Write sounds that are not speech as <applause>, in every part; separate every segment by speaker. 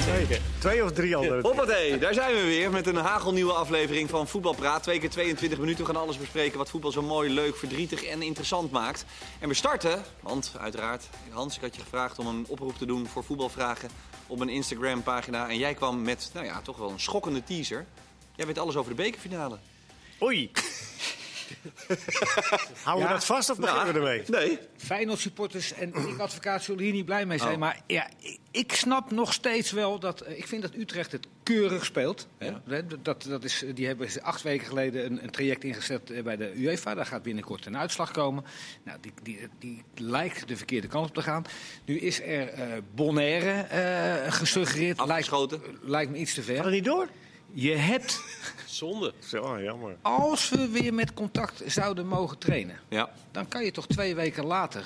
Speaker 1: Twee, twee of drie al.
Speaker 2: Hoppatee, daar zijn we weer met een hagelnieuwe aflevering van Voetbalpraat. Twee keer 22 minuten. We gaan alles bespreken wat voetbal zo mooi, leuk, verdrietig en interessant maakt. En we starten, want uiteraard, Hans, ik had je gevraagd om een oproep te doen voor voetbalvragen op een Instagram pagina. En jij kwam met, nou ja, toch wel een schokkende teaser. Jij weet alles over de bekerfinale.
Speaker 1: <laughs> Oei. Houden we dat vast of beginnen we ermee?
Speaker 2: Nou, Nee.
Speaker 3: Feyenoord supporters en ik advocaat zullen hier niet blij mee zijn. Maar ja, ik, ik snap nog steeds wel dat. eh, Ik vind dat Utrecht het keurig speelt. hè. Dat- Dat, dat is, die hebben ze acht weken geleden een, een traject ingezet eh, bij de UEFA. Daar gaat binnenkort een uitslag komen. Nou, die, die, die lijkt de verkeerde kant op te gaan. Nu is er eh Bonaire eh, gesuggereerd.
Speaker 2: Afgeschoten.
Speaker 3: Lijkt, eh, lijkt me iets te
Speaker 1: Gaat het
Speaker 3: ver.
Speaker 1: niet door?
Speaker 3: Je hebt,
Speaker 4: Zonde.
Speaker 1: Zo, ah, jammer.
Speaker 3: als we weer met contact zouden mogen trainen.
Speaker 2: Ja.
Speaker 3: Dan kan je toch twee weken later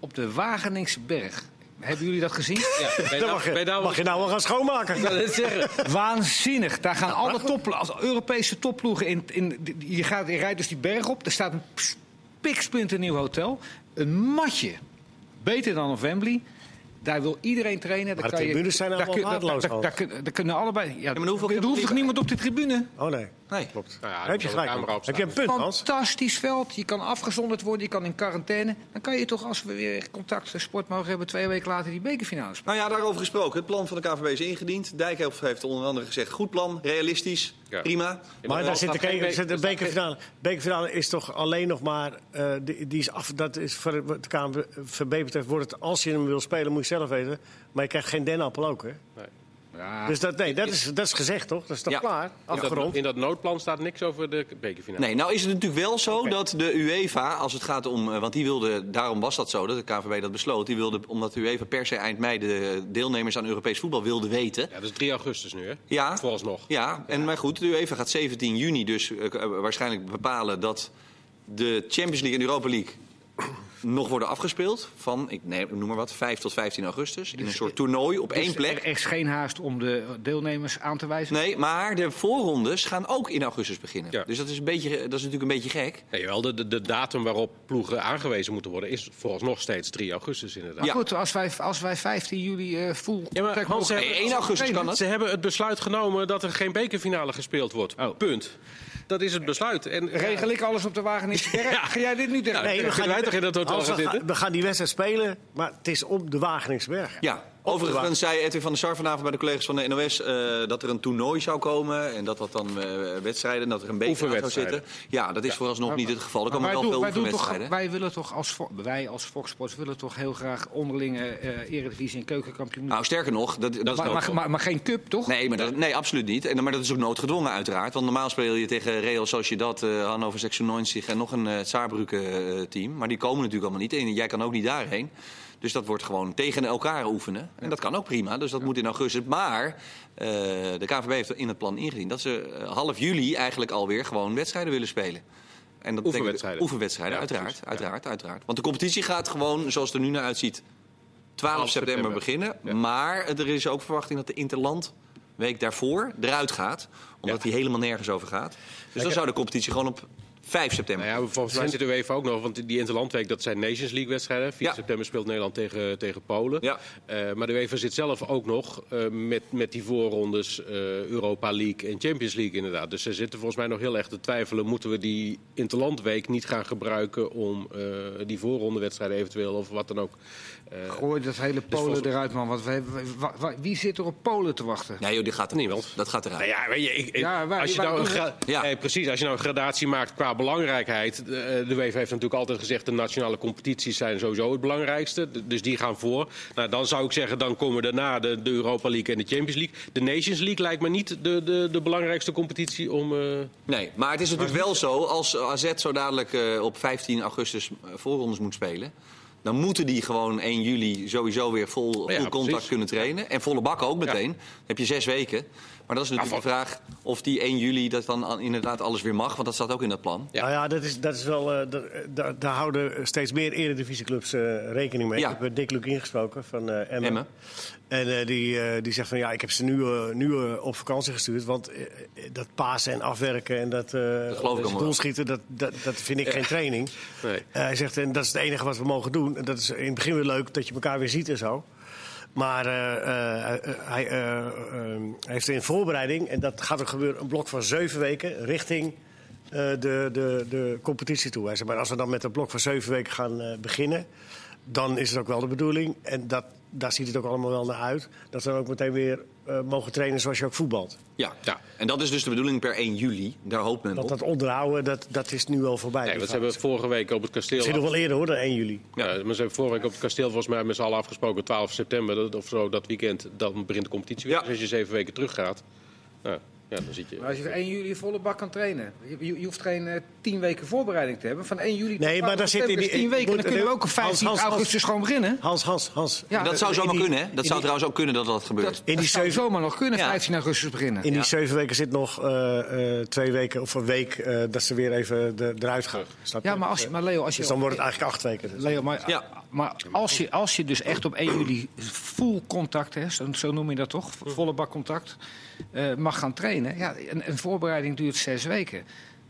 Speaker 3: op de Wageningse berg. Hebben jullie dat gezien?
Speaker 4: Ja,
Speaker 3: <laughs>
Speaker 4: ben je
Speaker 1: Dan
Speaker 4: nou-
Speaker 1: mag,
Speaker 4: ben
Speaker 1: je,
Speaker 4: je nou-
Speaker 1: mag je nou wel gaan schoonmaken.
Speaker 4: Ik wil het zeggen.
Speaker 3: Waanzinnig. Daar gaan alle topplo- als Europese topploegen in. in die- die- je, gaat, je rijdt dus die berg op. Er staat een piksplinter nieuw hotel. Een matje. Beter dan op Wembley. Daar wil iedereen trainen. Daar
Speaker 1: Maar de
Speaker 3: kan je-
Speaker 1: tribunes zijn
Speaker 3: daar
Speaker 1: allemaal
Speaker 3: kun- daar-
Speaker 1: waardeloos,
Speaker 3: daar-
Speaker 1: Hans.
Speaker 3: Daar kun- daar kunnen allebei. Ja,
Speaker 2: maar hoeveel-
Speaker 3: er hoeft toch niemand op de tribune?
Speaker 1: Oh nee,
Speaker 2: Nee.
Speaker 1: klopt.
Speaker 4: Nou ja,
Speaker 1: Daar
Speaker 4: dan
Speaker 1: heb je
Speaker 4: zal de
Speaker 1: gelijk.
Speaker 4: camera op
Speaker 1: Heb je een punt, <laughs> Hans?
Speaker 3: Fantastisch veld. Je kan afgezonderd worden, je kan in quarantaine. Dan kan je toch, als we weer contact en sport mogen hebben, twee weken later die bekerfinale spelen.
Speaker 2: Nou ja, daarover gesproken. Het plan van de KVB is ingediend. Dijkhoff heeft onder andere gezegd, goed plan, realistisch,
Speaker 4: Ja.
Speaker 2: prima.
Speaker 1: Maar daar zit de,
Speaker 4: staat geen
Speaker 1: ke-
Speaker 4: be-
Speaker 1: zit de
Speaker 4: er staat geen-
Speaker 1: bekerfinale. bekerfinale is toch alleen nog maar. eh, die, die is af, dat is voor wat de KNVB betreft. Wordt het, als je hem wil spelen, moet je zelf weten. Maar je krijgt geen dennenappel ook. Hè?
Speaker 3: Ja.
Speaker 1: Dus dat, nee, dat, is, dat is gezegd toch? Dat is toch
Speaker 2: Ja.
Speaker 1: klaar?
Speaker 4: In dat,
Speaker 1: Afgerond.
Speaker 4: in dat noodplan staat niks over de bekerfinale.
Speaker 2: Nee, nou is het natuurlijk wel zo dat de UEFA, als het gaat om. eh, Want die wilde, daarom was dat zo, dat de KVB dat besloot. Die wilde, omdat de UEFA per se eind mei de deelnemers aan Europees voetbal wilde weten.
Speaker 4: Ja, dat is 3 augustus nu, hè?
Speaker 2: Ja.
Speaker 4: Vooralsnog.
Speaker 2: Ja, en maar goed, de UEFA gaat 17 juni dus eh, k- eh, waarschijnlijk bepalen dat de Champions League en Europa League <coughs> nog worden afgespeeld. Van, ik neem, noem maar wat, 5 tot 15 augustus. In een soort toernooi op één
Speaker 3: Dus
Speaker 2: plek.
Speaker 3: Er is geen haast om de deelnemers aan te wijzen.
Speaker 2: Nee, maar de voorrondes gaan ook in augustus beginnen.
Speaker 4: Ja.
Speaker 2: Dus dat is, een beetje, dat is natuurlijk een beetje gek.
Speaker 4: Nee, wel, de, de, de datum waarop ploegen aangewezen moeten worden is vooralsnog steeds 3 augustus, inderdaad.
Speaker 2: Ja.
Speaker 3: Goed, als wij, als wij 15 juli eh voel.
Speaker 4: Ja, maar Hans,
Speaker 3: mogen-
Speaker 4: eh,
Speaker 2: Nee, 1 augustus kan dat.
Speaker 4: Ze hebben het besluit genomen dat er geen bekerfinale gespeeld wordt. Punt. Dat is het besluit. En
Speaker 3: regel ik alles op de <laughs> Wageningse berg. Ga jij dit nu tegen?
Speaker 4: Nee, kunnen wij toch in dat hotel
Speaker 1: Hans,
Speaker 4: gaan
Speaker 1: we
Speaker 4: zitten?
Speaker 1: we gaan die wedstrijd spelen, maar het is op de Wageningsberg.
Speaker 2: Ja, overigens zei Edwin van der Sar vanavond bij de collega's van de NOS... eh, dat er een toernooi zou komen en dat dat dan eh, wedstrijden... en dat er een beker aan zou
Speaker 4: Oefenwedstrijden.
Speaker 2: zitten. Ja, dat is vooralsnog niet het geval. Er
Speaker 3: Maar
Speaker 2: komen wel
Speaker 3: doen-
Speaker 2: veel
Speaker 3: doen toch,
Speaker 2: oefenwedstrijden.
Speaker 3: wij willen toch als Fo- wij als Fox Sports willen toch heel graag onderlinge eh eredivisie en keukenkampioen.
Speaker 2: Nou, sterker nog, dat, dat is
Speaker 3: maar, maar,
Speaker 2: noodgedwongen.
Speaker 3: maar, maar geen cup toch?
Speaker 2: Nee, maar dat, nee, absoluut niet. En, maar dat is ook noodgedwongen uiteraard. Want normaal speel je tegen Real Sociedad, eh Hannover 96 en nog een eh Saarbrücken eh, team. Maar die komen natuurlijk allemaal niet. En jij kan ook niet daarheen. Dus dat wordt gewoon tegen elkaar oefenen. En dat kan ook prima. Dus dat moet in augustus. Maar eh, de KVB heeft in het plan ingediend dat ze eh, half juli eigenlijk alweer gewoon wedstrijden willen spelen. En dat betekent-
Speaker 4: Oefenwedstrijden.
Speaker 2: Oefenwedstrijden,
Speaker 4: Ja,
Speaker 2: uiteraard,
Speaker 4: precies. Ja.
Speaker 2: uiteraard, uiteraard. Want de competitie gaat gewoon, zoals het er nu naar uitziet, 12 september,
Speaker 4: september.
Speaker 2: beginnen.
Speaker 4: Ja.
Speaker 2: Maar er is ook verwachting dat de Interland week daarvoor eruit gaat. Omdat die helemaal nergens over gaat. Dus dan zou de competitie gewoon op 5 september.
Speaker 4: Nou ja, volgens mij zit de UEFA ook nog, want die Interlandweek, dat zijn Nations League-wedstrijden. 4
Speaker 2: Ja.
Speaker 4: september speelt Nederland tegen, tegen Polen.
Speaker 2: Ja.
Speaker 4: Eh, maar de UEFA zit zelf ook nog eh, met, met die voorrondes eh, Europa League en Champions League inderdaad. Dus ze zitten volgens mij nog heel erg te twijfelen, moeten we die Interlandweek niet gaan gebruiken om eh, die voorrondewedstrijden eventueel of wat dan ook. eh,
Speaker 3: Gooi dat hele Polen
Speaker 4: volgens-
Speaker 3: eruit man. Want wij- wij- wa- wa- wie zit er op Polen te wachten?
Speaker 2: Nee, joh, die gaat er
Speaker 4: Niemand.
Speaker 2: Dat gaat eruit.
Speaker 4: Nou ja, weet je, ik- ik-
Speaker 3: Ja, wij-
Speaker 4: als je
Speaker 3: wij
Speaker 4: nou een
Speaker 3: doen
Speaker 4: gra-
Speaker 2: Ja.
Speaker 4: Nee, precies, als je nou een gradatie maakt qua belangrijkheid. De, eh, de UEFA heeft natuurlijk altijd gezegd, de nationale competities zijn sowieso het belangrijkste. D- Dus die gaan voor. Nou, dan zou ik zeggen, dan komen daarna de, de Europa League en de Champions League. De Nations League lijkt me niet de, de, de belangrijkste competitie om... eh,
Speaker 2: Nee, maar het is natuurlijk wel zo, als AZ zo dadelijk eh, op 15 augustus eh, voorrondes moet spelen... dan moeten die gewoon 1 juli sowieso weer vol, vol
Speaker 4: Ja,
Speaker 2: contact
Speaker 4: precies.
Speaker 2: kunnen trainen. En volle bak ook meteen. Dan heb je zes weken. Maar dat is natuurlijk de
Speaker 4: Nou,
Speaker 2: vraag of die 1 juli dat dan aan- inderdaad alles weer mag. Want dat staat ook in dat plan.
Speaker 4: Ja.
Speaker 1: Nou ja, dat is, dat is wel, eh, daar- daar- daar houden steeds meer eredivisieclubs eh rekening mee.
Speaker 2: Ja.
Speaker 1: Ik heb eh, Dick Luc ingesproken van eh Emmen.
Speaker 2: Emmen.
Speaker 1: En eh, die, eh, die zegt van ja, ik heb ze nu, eh, nu eh, op vakantie gestuurd. Want eh, eh, dat pasen en afwerken en dat, eh
Speaker 2: geloof ik allemaal wel.
Speaker 1: doel schieten, dat, dat, dat vind ik geen training.
Speaker 4: Nee.
Speaker 1: Eh, hij zegt, en dat is het enige wat we mogen doen. En dat is in het begin weer leuk dat je elkaar weer ziet en zo. Maar eh, eh, eh, hij eh, eh, heeft in voorbereiding, en dat gaat er gebeuren, een blok van zeven weken richting eh, de, de, de competitie toe. Hij zei, maar als we dan met een blok van zeven weken gaan eh, beginnen, dan is het ook wel de bedoeling. En dat, daar ziet het ook allemaal wel naar uit. Dat ze dan ook meteen weer eh, mogen trainen zoals je ook voetbalt.
Speaker 2: Ja.
Speaker 4: Ja.
Speaker 2: en dat is dus de bedoeling per 1 juli. Daar hoopt men
Speaker 1: Dat
Speaker 2: op.
Speaker 1: dat onderhouden, dat, dat is nu al voorbij.
Speaker 4: Nee,
Speaker 1: Die
Speaker 4: want ze
Speaker 1: fase.
Speaker 4: hebben vorige week op het kasteel.
Speaker 1: Misschien nog wel eerder hoor, dan 1 juli.
Speaker 4: Ja, maar ze hebben vorige week op het kasteel volgens mij met z'n allen afgesproken. 12 september dat- of zo, dat weekend. Dan begint de competitie weer.
Speaker 2: Ja.
Speaker 4: Dus als je zeven weken teruggaat, nou, ja, dan zit je...
Speaker 3: Maar als je 1 juli volle bak kan trainen. Je, je- je hoeft geen eh, 10 weken voorbereiding te hebben. Van 1 juli tot
Speaker 1: Nee, maar
Speaker 3: 12
Speaker 1: daar zit in
Speaker 3: september is
Speaker 1: die-
Speaker 3: 10 weken.
Speaker 1: moet-
Speaker 3: Dan kunnen we ook op
Speaker 1: Hans, Hans,
Speaker 3: 15
Speaker 1: Hans.
Speaker 3: augustus gewoon beginnen.
Speaker 1: Hans, Hans, Hans.
Speaker 3: Ja,
Speaker 2: dat zou
Speaker 1: in
Speaker 2: zomaar
Speaker 1: die-
Speaker 2: kunnen, hè?
Speaker 1: in
Speaker 2: Dat zou
Speaker 1: die-
Speaker 2: trouwens ook kunnen dat dat gebeurt.
Speaker 3: in die
Speaker 1: die
Speaker 3: zou
Speaker 1: zeven-
Speaker 3: zomaar nog kunnen,
Speaker 2: Ja.
Speaker 3: 15 augustus beginnen.
Speaker 1: In die zeven weken zit nog eh, eh, twee weken of een week eh, dat ze weer even de, eruit gaan. Snap je?
Speaker 3: Ja, maar, als je, maar Leo, als je
Speaker 1: Dus dan wordt het eigenlijk acht weken.
Speaker 3: Leo, maar,
Speaker 2: Ja.
Speaker 3: maar als, je, als je dus echt op 1 juli full contact, hè, zo, zo noem je dat toch, volle bak contact, eh, mag gaan trainen. Ja, een, een voorbereiding duurt zes weken.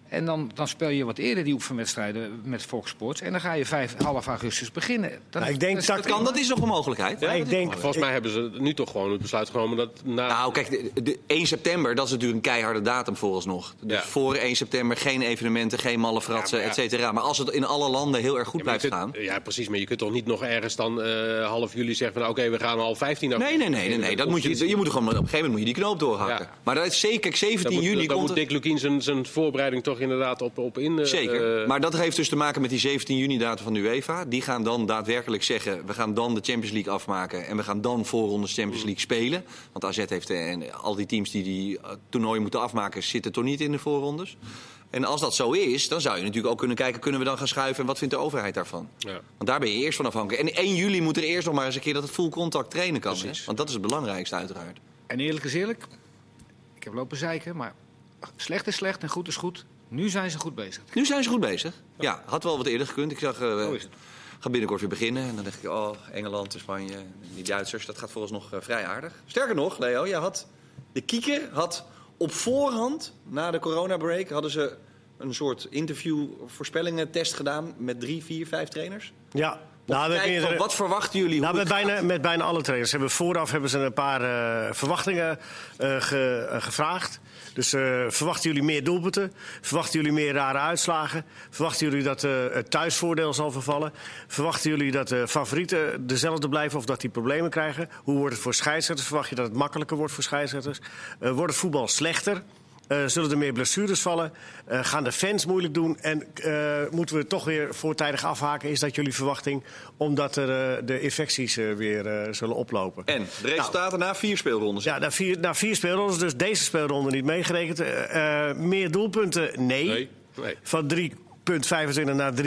Speaker 3: En dan, dan speel je wat eerder die oefenwedstrijden met Fox Sports. En dan ga je 5, half augustus beginnen. Dan-
Speaker 1: Nou, ik denk
Speaker 3: dus
Speaker 1: dat
Speaker 2: Dat kan, dat is nog een mogelijkheid.
Speaker 1: Maar
Speaker 2: Ja,
Speaker 1: ik
Speaker 2: dat is
Speaker 1: denk-
Speaker 2: een mogelijkheid.
Speaker 4: Volgens mij hebben ze nu toch gewoon het besluit genomen dat na...
Speaker 2: Nou, kijk, de, de 1 september, dat is natuurlijk een keiharde datum vooralsnog. Dus
Speaker 4: Ja.
Speaker 2: voor 1 september geen evenementen, geen malle fratsen,
Speaker 4: Ja,
Speaker 2: et
Speaker 4: maar ja.
Speaker 2: cetera. Maar als het in alle landen heel erg goed
Speaker 4: Maar je
Speaker 2: blijft
Speaker 4: kunt-
Speaker 2: gaan...
Speaker 4: Ja, precies. Maar je kunt toch niet nog ergens dan eh, half juli zeggen van... oké, we gaan al 15
Speaker 2: Nee, nee, nee, nee, nee. Dat moet je, je moet er gewoon, op een gegeven moment moet je die knoop doorhakken.
Speaker 4: Ja.
Speaker 2: Maar dat is zeker, kijk, 17
Speaker 4: Dan moet,
Speaker 2: juli
Speaker 4: dan
Speaker 2: komt
Speaker 4: moet
Speaker 2: er-
Speaker 4: Dick Lukien zijn, zijn voorbereiding toch inderdaad op, op in. eh,
Speaker 2: Zeker.
Speaker 4: eh,
Speaker 2: maar dat heeft dus te maken met die 17 juni datum van de UEFA. Die gaan dan daadwerkelijk zeggen: we gaan dan de Champions League afmaken. En we gaan dan voorrondes
Speaker 4: Mm.
Speaker 2: Champions League spelen. Want AZ heeft eh, en al die teams die die eh, toernooien moeten afmaken, zitten toch niet in de voorrondes. En als dat zo is, dan zou je natuurlijk ook kunnen kijken: kunnen we dan gaan schuiven? En wat vindt de overheid daarvan?
Speaker 4: ja.
Speaker 2: Want daar ben je eerst van afhankelijk. En 1 juli moet er eerst nog maar eens een keer dat het full contact trainen kan. hè? Want dat is het belangrijkste, uiteraard.
Speaker 3: En eerlijk is eerlijk, ik heb lopen zeiken, maar slecht is slecht en goed is goed. Nu zijn ze goed bezig.
Speaker 2: Nu zijn ze goed bezig. Ja, had wel wat eerder gekund. Ik zag, eh
Speaker 3: Zo is het.
Speaker 2: ga binnenkort weer beginnen. En dan dacht ik, oh, Engeland, Spanje, die Duitsers. Dat gaat vooralsnog nog eh, vrij aardig. Sterker nog, Leo, jij had, de kieker had op voorhand, na de coronabreak... hadden ze een soort interview voorspellingen test gedaan... met drie, vier, vijf trainers.
Speaker 1: Ja, nou, we
Speaker 2: Kijk,
Speaker 1: hebben
Speaker 2: van,
Speaker 1: meerdere-
Speaker 2: wat verwachten jullie?
Speaker 1: nou,
Speaker 2: hoe
Speaker 1: met,
Speaker 2: het gaat?
Speaker 1: bijna, met bijna alle trainers. Ze Hebben, vooraf hebben ze een paar eh, verwachtingen eh, ge- eh, gevraagd. Dus eh, verwachten jullie meer doelpunten? Verwachten jullie meer rare uitslagen? Verwachten jullie dat eh, het thuisvoordeel zal vervallen? Verwachten jullie dat de favorieten dezelfde blijven of dat die problemen krijgen? Hoe wordt het voor scheidsrechters? Verwacht je dat het makkelijker wordt voor scheidsrechters? Eh, wordt het voetbal slechter? Eh, zullen er meer blessures vallen? Eh, gaan de fans moeilijk doen? En eh, moeten we het toch weer voortijdig afhaken? Is dat jullie verwachting? Omdat er, eh, de infecties eh, weer eh, zullen oplopen.
Speaker 2: En de resultaten na vier speelrondes.
Speaker 1: Nou. Ja, na vier, na vier speelrondes, dus deze speelronde niet meegerekend. Eh, eh, meer doelpunten? Nee.
Speaker 4: Nee, nee.
Speaker 1: Van 3,25 naar 3,19.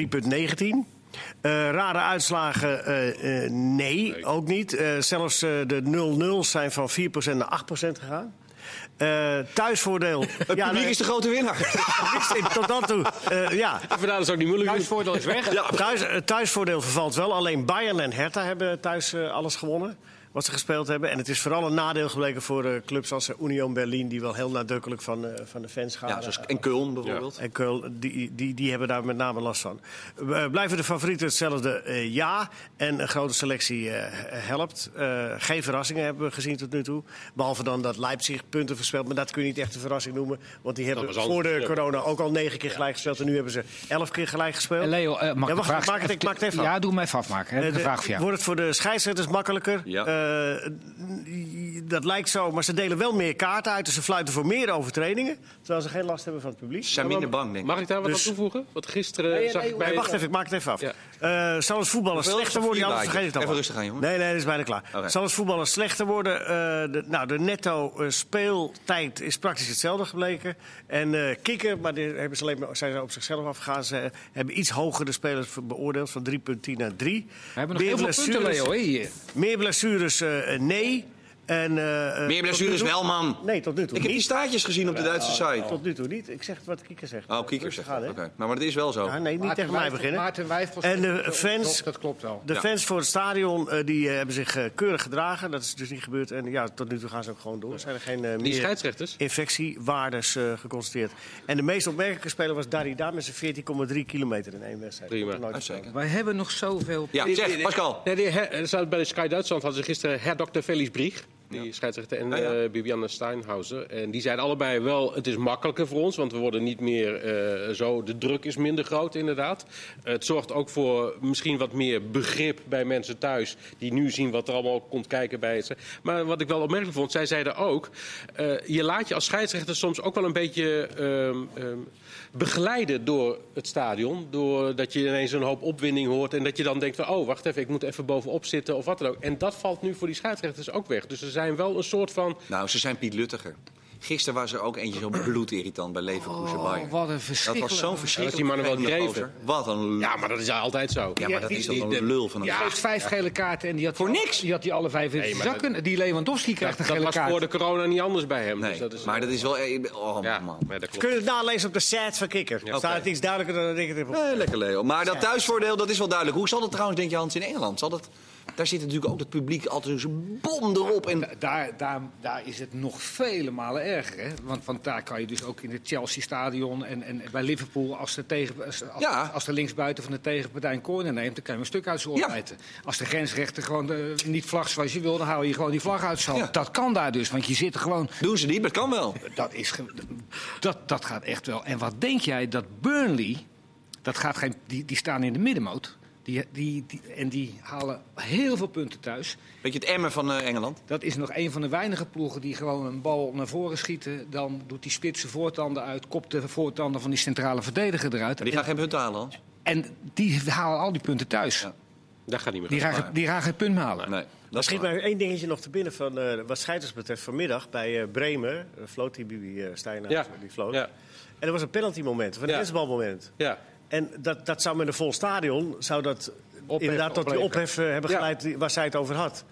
Speaker 1: Eh, rare uitslagen? eh, eh, nee,
Speaker 4: Nee.
Speaker 1: ook niet. Eh, zelfs eh, de 0-0's zijn van 4% naar 8% gegaan. Eh, thuisvoordeel.
Speaker 2: <laughs> Het publiek
Speaker 1: nee.
Speaker 2: is de grote winnaar.
Speaker 1: Niks tot dan toe. Eh, ja.
Speaker 4: Vandaar dat ze ook niet moeilijk doen.
Speaker 3: Thuisvoordeel is weg.
Speaker 1: Thuis, het thuisvoordeel vervalt wel. Alleen Bayern en Hertha hebben thuis eh, alles gewonnen. Wat ze gespeeld hebben. En het is vooral een nadeel gebleken voor eh, clubs als eh, Union Berlin. Die wel heel nadrukkelijk van, eh, van de fans gaan.
Speaker 2: Ja, zoals in Köln bijvoorbeeld.
Speaker 1: En Keul, die, die, die hebben daar met name last van. Eh, Blijven de favorieten hetzelfde? Eh, ja. En een grote selectie eh, helpt. Eh, geen verrassingen hebben we gezien tot nu toe. Behalve dan dat Leipzig punten verspeelt. Maar dat kun je niet echt een verrassing noemen. Want die hebben
Speaker 4: was anders,
Speaker 1: voor de
Speaker 4: ja.
Speaker 1: corona ook al negen keer gelijk gespeeld. En nu hebben ze elf keer gelijk gespeeld.
Speaker 3: En Leo, eh,
Speaker 1: <laughs>
Speaker 3: mag
Speaker 1: Ja,
Speaker 3: ik
Speaker 1: wacht,
Speaker 3: de vraag
Speaker 1: maak het- ik maak het even af.
Speaker 3: Ja, doe hem even afmaken. Heb ik
Speaker 1: Eh,
Speaker 3: een
Speaker 1: de-
Speaker 3: vraag voor jou.
Speaker 1: Wordt het voor de scheidsrechters makkelijker?
Speaker 2: Ja.
Speaker 1: Eh, n- dat lijkt zo, maar ze delen wel meer kaarten uit. Dus ze fluiten voor meer overtredingen. Terwijl ze geen last hebben van het publiek.
Speaker 2: Ze zijn minder bang, denk ik.
Speaker 4: Mag ik daar wat
Speaker 1: Dus-
Speaker 4: aan toevoegen? Want gisteren
Speaker 3: nee,
Speaker 4: zag ik
Speaker 3: nee,
Speaker 4: bij...
Speaker 1: Nee, wacht even, ik maak het even af.
Speaker 4: Ja.
Speaker 1: Eh, zal het voetballen
Speaker 2: Hoeveel
Speaker 1: slechter
Speaker 2: is het
Speaker 1: worden? Ja, anders
Speaker 2: vierbaaitje?
Speaker 1: vergeet ik het al.
Speaker 2: Even rustig aan, jongen.
Speaker 1: Nee, nee, dat is bijna klaar.
Speaker 2: Oké.
Speaker 1: Zal het voetballen slechter worden? Eh, de, nou, de netto eh, speeltijd is praktisch hetzelfde gebleken. En eh kikken, maar die hebben ze alleen maar, zijn ze op zichzelf afgegaan. Ze eh, hebben iets hoger de spelers beoordeeld, van 3,10 naar 3.
Speaker 3: We hebben nog heel veel punten, Leo. hè, hier.
Speaker 1: Meer blessures, eh, eh, nee. En, eh, eh,
Speaker 2: Meer blessures
Speaker 1: tot nu toe-
Speaker 2: wel, man.
Speaker 1: Nee, tot nu toe
Speaker 2: Ik heb die
Speaker 1: niet.
Speaker 2: staartjes gezien op de Duitse site.
Speaker 1: Tot nu toe niet. Ik zeg wat Kieker zegt.
Speaker 2: Oh, Kieker
Speaker 1: Rustig
Speaker 2: zegt
Speaker 1: aan,
Speaker 2: dat.
Speaker 1: hè?
Speaker 2: Oké. Maar, maar dat is wel zo.
Speaker 1: Ja, Ah, nee, niet tegen mij beginnen.
Speaker 3: Maarten Wijfels.
Speaker 1: En de
Speaker 3: Dat
Speaker 1: fans-
Speaker 3: klopt, Dat klopt wel.
Speaker 1: De
Speaker 2: Ja.
Speaker 1: fans voor het stadion eh, die, eh, hebben zich eh, keurig gedragen. Dat is dus niet gebeurd. En ja, tot nu toe gaan ze ook gewoon door. Zijn er geen eh,
Speaker 4: Die
Speaker 1: meer
Speaker 4: scheidsrechters?
Speaker 1: infectiewaardes eh, geconstateerd. En de meest opmerkelijke speler was Darida met zijn 14,3 kilometer in één wedstrijd.
Speaker 4: Prima.
Speaker 1: Komt er nooit
Speaker 2: Uitstekend.
Speaker 3: Wij hebben nog zoveel.
Speaker 2: Ja, zeg, Pascal.
Speaker 4: Nee, die her- er staat bij de Sky Duitsland hadden ze gisteren herdokter Felix Brieg. Die scheidsrechter en
Speaker 2: Ah, ja.
Speaker 4: eh, Bibiane Steinhauser. En die zeiden allebei wel, het is makkelijker voor ons. Want we worden niet meer eh, zo, de druk is minder groot inderdaad. Het zorgt ook voor misschien wat meer begrip bij mensen thuis. Die nu zien wat er allemaal komt kijken bij het. Maar wat ik wel opmerkelijk vond, zij zeiden ook... eh, je laat je als scheidsrechter soms ook wel een beetje ehm, ehm, begeleiden door het stadion. Doordat je ineens een hoop opwinding hoort. En dat je dan denkt van, oh, wacht even, ik moet even bovenop zitten of wat dan ook. En dat valt nu voor die scheidsrechters ook weg. Dus er zijn wel een soort van...
Speaker 2: Nou, ze zijn Piet Luttiger. Gisteren was er ook eentje zo bloedirritant bij Leverkusen Bayern.
Speaker 3: Oh, wat een
Speaker 2: dat
Speaker 3: verschrikkelijk.
Speaker 2: was zo'n verschrikkelijk
Speaker 4: Ja, dat die mannen wel
Speaker 2: vervelende
Speaker 4: dreven.
Speaker 2: gozer. Wat een lul.
Speaker 4: Ja, maar dat is altijd zo.
Speaker 2: Ja, maar dat
Speaker 3: die-
Speaker 2: is toch
Speaker 3: die-
Speaker 2: wel een lul van een
Speaker 3: Die kreeg vijf gele kaarten en die had voor
Speaker 2: niks?
Speaker 3: Die had die alle vijf in zijn
Speaker 4: Nee, maar
Speaker 3: zakken. Die Lewandowski krijgt
Speaker 4: Dat,
Speaker 3: een
Speaker 4: dat
Speaker 3: gele
Speaker 4: was
Speaker 3: kaart.
Speaker 4: voor de corona niet anders bij hem.
Speaker 2: Nee,
Speaker 4: Dus dat is,
Speaker 2: maar dat is wel... Oh,
Speaker 4: Ja,
Speaker 2: man.
Speaker 4: maar dat klopt.
Speaker 1: Kun je het nalezen op de site van Kikker? Staat het iets duidelijker dan ik het heb op-
Speaker 2: Eh, lekker, Leo. Maar dat thuisvoordeel, dat is wel duidelijk. Hoe zal dat trouwens, denk je, Hans, in Engeland? Zal dat... Daar zit natuurlijk ook het publiek altijd zo'n bom erop. En...
Speaker 3: Da- Daar, daar, daar is het nog vele malen erger. Hè? Want, want daar kan je dus ook in het Chelsea-stadion en, en bij Liverpool... als de, tegen, als, als,
Speaker 2: Ja.
Speaker 3: als de linksbuiten van de tegenpartij een corner neemt... dan kan je hem een stuk uit zijn
Speaker 2: Ja.
Speaker 3: oor bijten. Als de grensrechter gewoon eh, niet vlagt zoals je wil... dan haal je gewoon die vlag uit zijn hand.
Speaker 2: Ja.
Speaker 3: Dat kan daar dus, want je zit er gewoon...
Speaker 2: Doen ze niet, maar het kan wel.
Speaker 3: Dat, is ge- dat, dat gaat echt wel. En wat denk jij dat Burnley... Dat gaat geen, die, die staan in de middenmoot. Die, die, die, en die halen heel veel punten thuis.
Speaker 2: Weet je, het emmer van eh, Engeland.
Speaker 3: Dat is nog een van de weinige ploegen die gewoon een bal naar voren schieten. Dan doet die spitse voortanden uit, kopt de voortanden van die centrale verdediger eruit.
Speaker 2: Maar die gaan geen punten halen, Hans.
Speaker 3: En die halen al die punten thuis.
Speaker 2: Ja.
Speaker 4: Dat gaat niet meer
Speaker 3: Die, gaan, ge- die gaan geen punt meer halen.
Speaker 2: Nee,
Speaker 1: Er
Speaker 2: dat is
Speaker 1: schiet
Speaker 2: waar.
Speaker 1: mij één dingetje nog te binnen van eh, wat scheiders betreft. Vanmiddag bij eh, Bremen eh, floot die Bibi eh, Steinhaus,
Speaker 4: Ja.
Speaker 1: die floot.
Speaker 4: Ja.
Speaker 1: En er was een penalty moment, een
Speaker 4: Ja.
Speaker 1: invalmoment.
Speaker 4: Ja.
Speaker 1: En dat, dat zou met een vol stadion, zou dat
Speaker 4: Ophef
Speaker 1: inderdaad tot die
Speaker 4: opleveren.
Speaker 1: ophef eh, hebben
Speaker 4: Ja.
Speaker 1: geleid die- waar zij het over had.